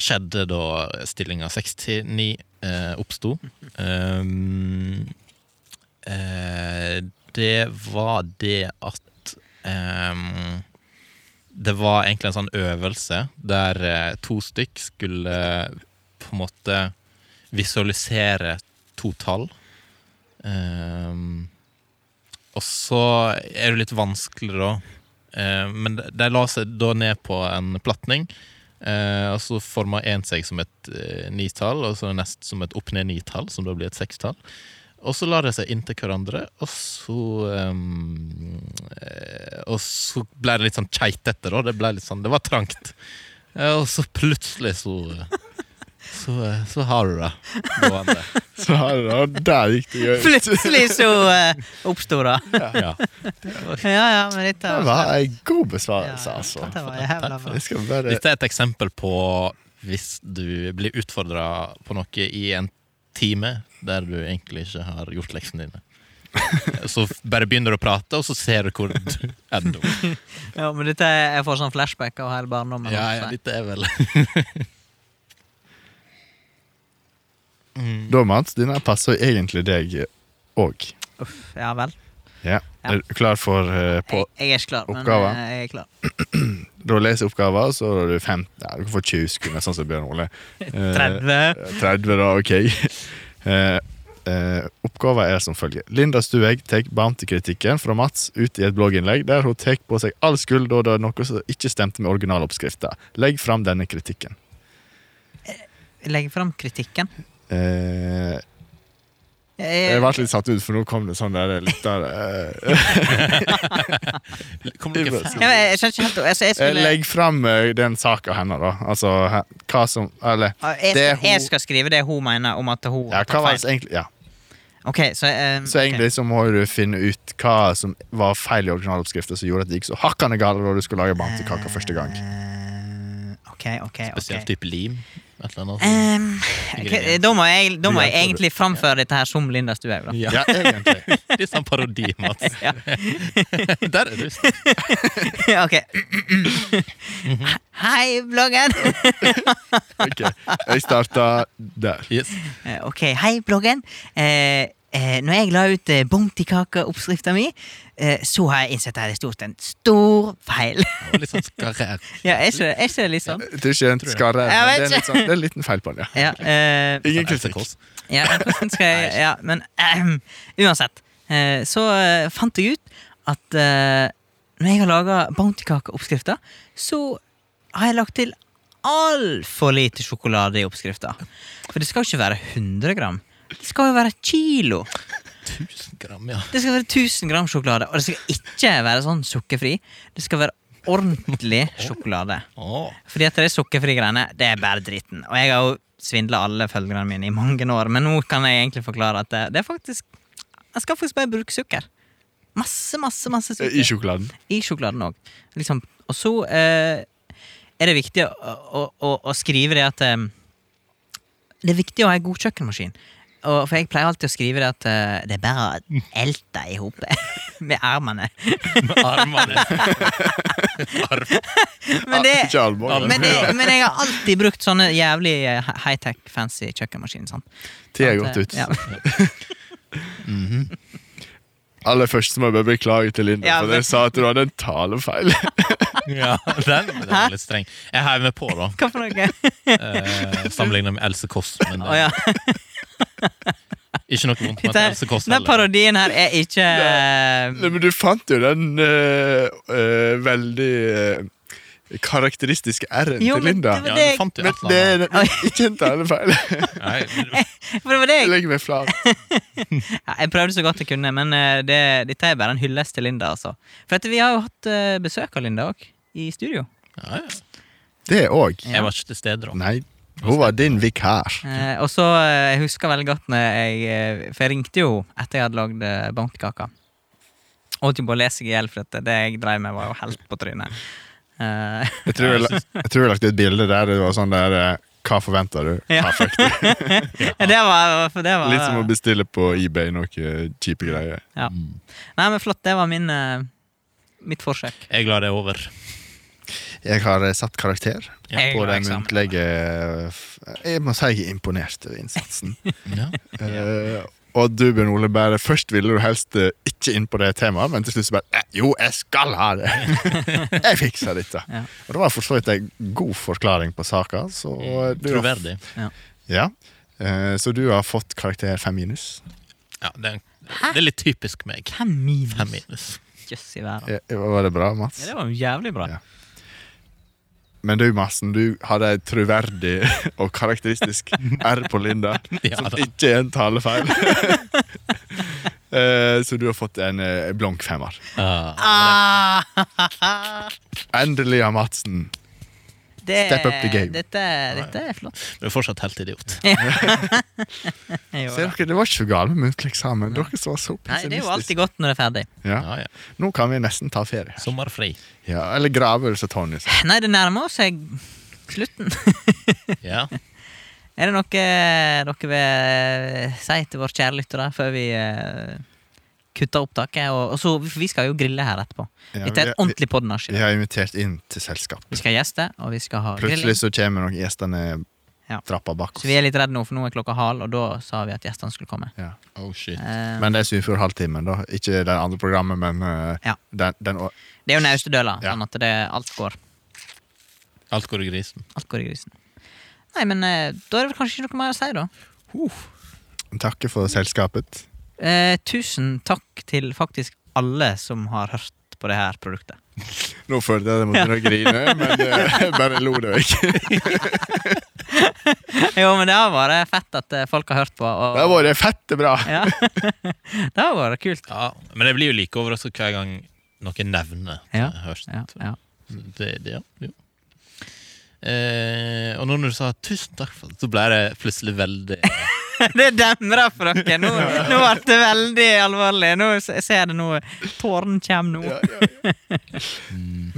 skjedde da stillinga 69 eh, oppsto. Um, eh, det var det at em, det var egentlig en sånn øvelse der eh, to stykk skulle eh, på en måte visualisere to tall. Ehm, og så er det litt vanskeligere, da. Ehm, men de- de la seg da ned på en platning. eh, og så forma én seg som et eh, nitall, og så nest som et opp-ned-nitall, som da blir et sekstall. Og så la de seg inntil hverandre, og så ehm, eh, Og så ble det litt sånn keitete, da. Det, ble litt sånn, det var trangt. Eh, og så plutselig så Så, eh, så har du det gående. Så her, da, der gikk det gøy. Plutselig så uh, oppsto det. Ja. ja, ja, men dette Det var ei god Ja, besvarelse, altså. dette var jævla bra. Jeg skal bare Dette er et eksempel på hvis du blir utfordra på noe i en time der du egentlig ikke har gjort leksene dine. Så f- bare begynner du å prate, og så ser du hvor du ender opp. Ja, men dette er, jeg får sånn flashback av hele barndommen. Ja, ja, altså. dette er vel Da, Mats, denne passer jo egentlig deg òg. Uff, ja vel. Ja. Ja. Er du klar for eh, på, Jeg, jeg er ikke klar, men Oppgave. eh, jeg er klar. Da leser jeg oppgaven, så har du fem ja, Du kan få 20 sekunder, sånn som Bjørn Ole. Eh, 30. 30, da. Ok. Eh, eh, oppgaven er som følger. Linda Stuegg tar bounty-kritikken fra Mats ut i et blogginnlegg der hun tar på seg all skyld da det er noe som ikke stemte med originaloppskrifta. Legg fram denne kritikken. Legg fram kritikken. Eh, Jeg, jeg ble litt satt ut, for nå kom det sånn der litt der eh, Kommer dere Ja, men jeg skjønner ikke helt altså, jeg, eh, skulle, Legg fram eh, den saka hennes, da. Altså he- hva som Eller Ah, jeg, det hun- jeg skal skrive det hun mener om at hun ja, har hva tatt var feil. det egentlig Ja. Ok, så, eh, Så ok. egentlig så må du finne ut hva som var feil i originaloppskriften som gjorde at det gikk så hakkande galt da du skulle lage bamsekake første gang. Eh, Ok, ok, ok. Spesielt type lim. Et eller annet. sånt. Ehm, ok, da må jeg, da må jeg egentlig framføre dette her som Linda Stuhaug, da. Ja, egentlig. Litt sånn parodi, Mats. Ja. Der er du. ok. Mhm. Hei, bloggen! Ok, Jeg starta der. Yes. Eh, Ok, hei bloggen. Eh, eh, når jeg la ut eh, bountykakeoppskrifta mi, eh, så har jeg innsett at det stort en stor feil. Det var Litt sånn skarrer. ja, er ikke, er ikke det litt sånn? Jeg tror ikke den skarrer, Jeg men vet det er, ikke. litt sånn, det er en liten feil på den. ja. Ja, eh, Ingen Sånn kritikk. Elsekås. ja, men hvordan skal jeg, ja men ehm, uansett. Eh, så eh, fant jeg ut at eh, når jeg har laga bountykakeoppskrifta, så har jeg lagt til altfor lite sjokolade i oppskrifta. For det skal jo ikke være 100 gram. Det skal jo være kilo. Tusen gram, ja. Det skal være 1000 gram sjokolade, og det skal ikke være sånn sukkerfri. Det skal være ordentlig sjokolade. Åh. Fordi at det er sukkerfri greiene, det er bare dritten. Og jeg har jo svindla alle følgerne mine i mange år, men nå kan jeg egentlig forklare at det, det er faktisk Jeg skal faktisk bare bruke sukker. Masse, masse, masse sukker. Eh, I sjokoladen. I sjokoladen òg. Liksom. Og så eh, er det viktig å, å, å, å skrive det at eh, Det er viktig å ha en god kjøkkenmaskin. Og, for jeg pleier alltid å skrive det at eh, det er bare å elte i hop med armene. Med armene. Arm. Men det, Ah, ikke alvor. Ja, men, det, men jeg har alltid brukt sånne jævlig eh, high-tech, fancy kjøkkenmaskiner. sant? Ti er At, godt eh, ut. Ja. Aller først så må jeg bare beklage til Linda, Ja, for men- jeg sa at du hadde en talefeil. Ja, den, den var litt streng. Jeg heiv meg på, da. Hva for noe? Eh, Sammenlignet med Else Kåss. Men Å ja. eh, ikke noe vondt med Dette, at Else Kåss den heller. parodien her er ikke eh, Nei, men du fant jo den eh, eh, veldig eh, karakteristiske R-en Jo, til men Linda. det var- Ja, du fant jo Men et det eller er ikke en talefeil. annet. Nei, For det var det Jeg jeg legger meg flat. Ja, jeg prøvde så godt jeg kunne, men eh, det, dette er bare en hyllest til Linda. altså. For at vi har jo hatt eh, besøk av Linda òg, i studio. Ja, ja. Det òg. Jeg var ikke til stede, da. Nei, hun var din vikar. Eh, og så eh, jeg husker veldig godt når jeg eh, For jeg ringte jo etter jeg hadde lagd eh, bankkaka. Og holdt jo på å lese seg i hjel, for at det jeg drev med, var jo helt på trynet. Eh, Jeg tror jeg, la- jeg tror jeg lagte et bilde der det var sånn der eh, Hva forventer du? Ja. Perfekt. det var, for det var Litt som å Mm. bestille på eBay noe eh, kjipe greier. ja. Nei, men flott. Det var min, eh, mitt forsøk. Jeg lar det over. Jeg har eh, satt karakter Ja, Jeg på la den eksamen. muntlige eh, f- Jeg må si jeg er imponert over innsatsen. Ja. Eh, og du, Bjørn Ole, bare først ville du helst eh, ikke inn på det temaet, men til slutt så bare eh, Jo, jeg skal ha det! jeg fikser dette. Ja. Og det var for så vidt en god forklaring på saka. Så eh, du, har- Mm, Troverdig. ja. Eh, så du har fått karakter fem minus. Ja, det, er, det er litt typisk meg. Fem minus. Fem minus. Jøss i verden. Eh, Var det bra, Mats? Ja, det var jo jævlig bra. Ja. Men du, Madsen, du hadde et troverdig og karakteristisk R på Linda, Ja som da. ikke er en talefeil. Eh, Så du har fått en eh, blank femmer. Ah, Ah, Endelig har Madsen det, Step up the game. Dette, dette er flott. du er fortsatt helt idiot. Jo, Ser da. dere, Det var ikke så galt med muntlig eksamen. Dere som var så Nei, det er jo pessimistiske. alltid godt når det er ferdig. Ja. Ja, ja. Nå kan vi nesten ta ferie. Sommerfri. Ja, eller grave, som Tonje sa. Nei, det nærmer seg slutten. Ja. Er det noe dere vil si til våre kjære lyttere før vi eh, kutter opptaket? Og, og så, for vi skal jo grille her etterpå. Ja, Dette er vi- et ordentlig podnasje. Vi har invitert inn til selskap. Vi skal ha gjester, og vi skal ha grilling. Plutselig så kommer noen gjester ned Ja. trappa bak Så vi oss. er litt redde nå, for nå er klokka halv, og da sa vi at gjestene skulle komme. Ja. Oh shit. Eh, Men det er Sunnfjord Halvtimen, da. Ikke det andre programmet, men eh, Ja. den, den å- det er jo naustedøla, Ja. sånn at det, alt, går, Alt går i grisen. alt går i grisen. Nei, men eh, da er det vel kanskje ikke noe mer å si, da. Takke for selskapet. Eh, tusen takk til faktisk alle som har hørt på det her produktet. Nå følte jeg at jeg måtte begynne å grine, men eh, jeg bare lo det ikke. jo, men det har vært fett at eh, folk har hørt på. Og, Det har vært fette bra! Ja. det har vært kult. Ja, men jeg blir jo like overrasket hver gang noen nevner at Ja, jeg har hørt Ja, ja. det. det ja, jo. Eh, og nå når du sa 'tusen takk', for det, så ble det plutselig veldig Det demrer for dere. Nå, nå ble det veldig alvorlig. Nå s- jeg ser det nå. Tåren kommer nå.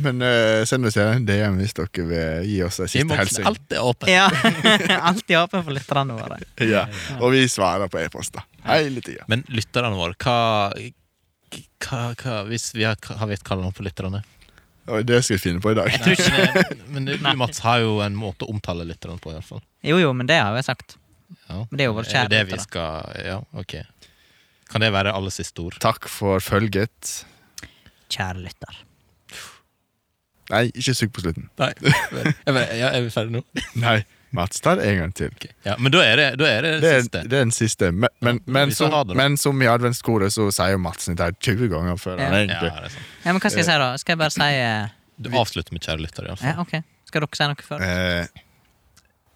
Men eh, send oss gjerne en DM hvis dere vil gi oss en siste Innboksen hilsen. er alltid åpen. Ja. Alltid åpen for lytterne våre. Ja. Og vi svarer på e-poster hele tida. Men lytterne våre, hva, hva, hva Hvis vi har, har vi et kallenavn på lytterne? Og det skal vi finne på i dag. Jeg tror ikke det, men du, Mats, har jo en måte å omtale lytterne på, iallfall. Jo, jo, men det har jeg sagt. Ja. Men det er jo vår Er Eh, det det kjærlighet, vi skal Ja, ok. Kan det være alles siste ord? Takk for følget. Kjære lytter. Nei, ikke sugg på slutten. Nei. Jeg, bare- ja, er vi ferdige nå? Nei, Mats tar en gang til. Ok. Ja, men da er det da er det, Det er, siste. det er den siste. Men, men, men, Vi skal som, ha det, da. men som i adventskoret så sier jo Madsen dette her 20 ganger før han Ja. Ja, egentlig det er sant. Ja, men hva skal jeg si, da? Skal jeg bare si eh, Du avslutter med kjære lytter, Ja, iallfall. OK. Skal dere si noe før? Eh,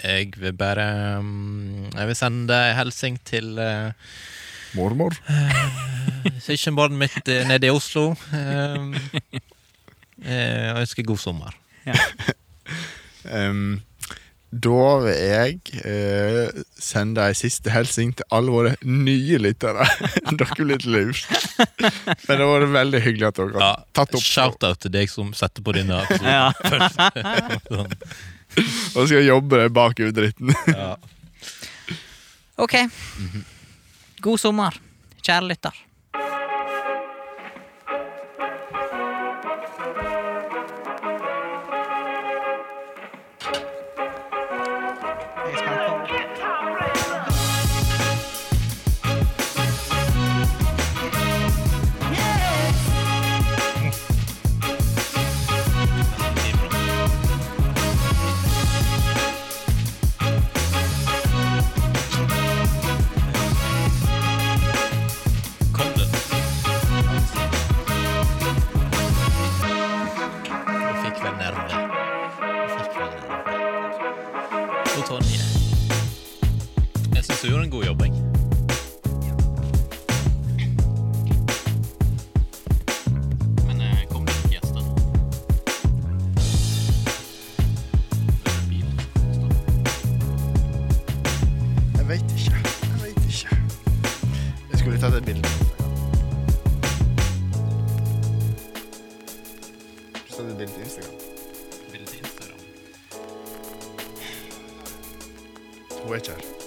Jeg vil bare mm, Jeg vil sende en hilsen til eh, Mormor? søskenbarnet mitt eh, nede i Oslo. Um, eh, og ønsker god sommer. Ehm, da vil jeg eh, sende ei siste hilsen til alle våre nye lyttere. dere blir litt lurt. Men det har vært veldig hyggelig at dere har tatt opp og, Shout-out til deg som setter på denne episoden Ja. først. sånn. og skal jobbe bak i dritten. ja. OK. Mhm. God sommer, kjære lytter. Kom den. Du fikk vel nerve. Du fikk vel nerve. Og Tonje. Jeg syns du gjorde en god jobb, jeg. Men eh, kom det ikke gjester nå? Det er bilen. Jeg veit ikke. Jeg vet ikke. Jeg skulle tatt et bilde. Skulle tatt et bilde til Instagram. Hun er ikke her.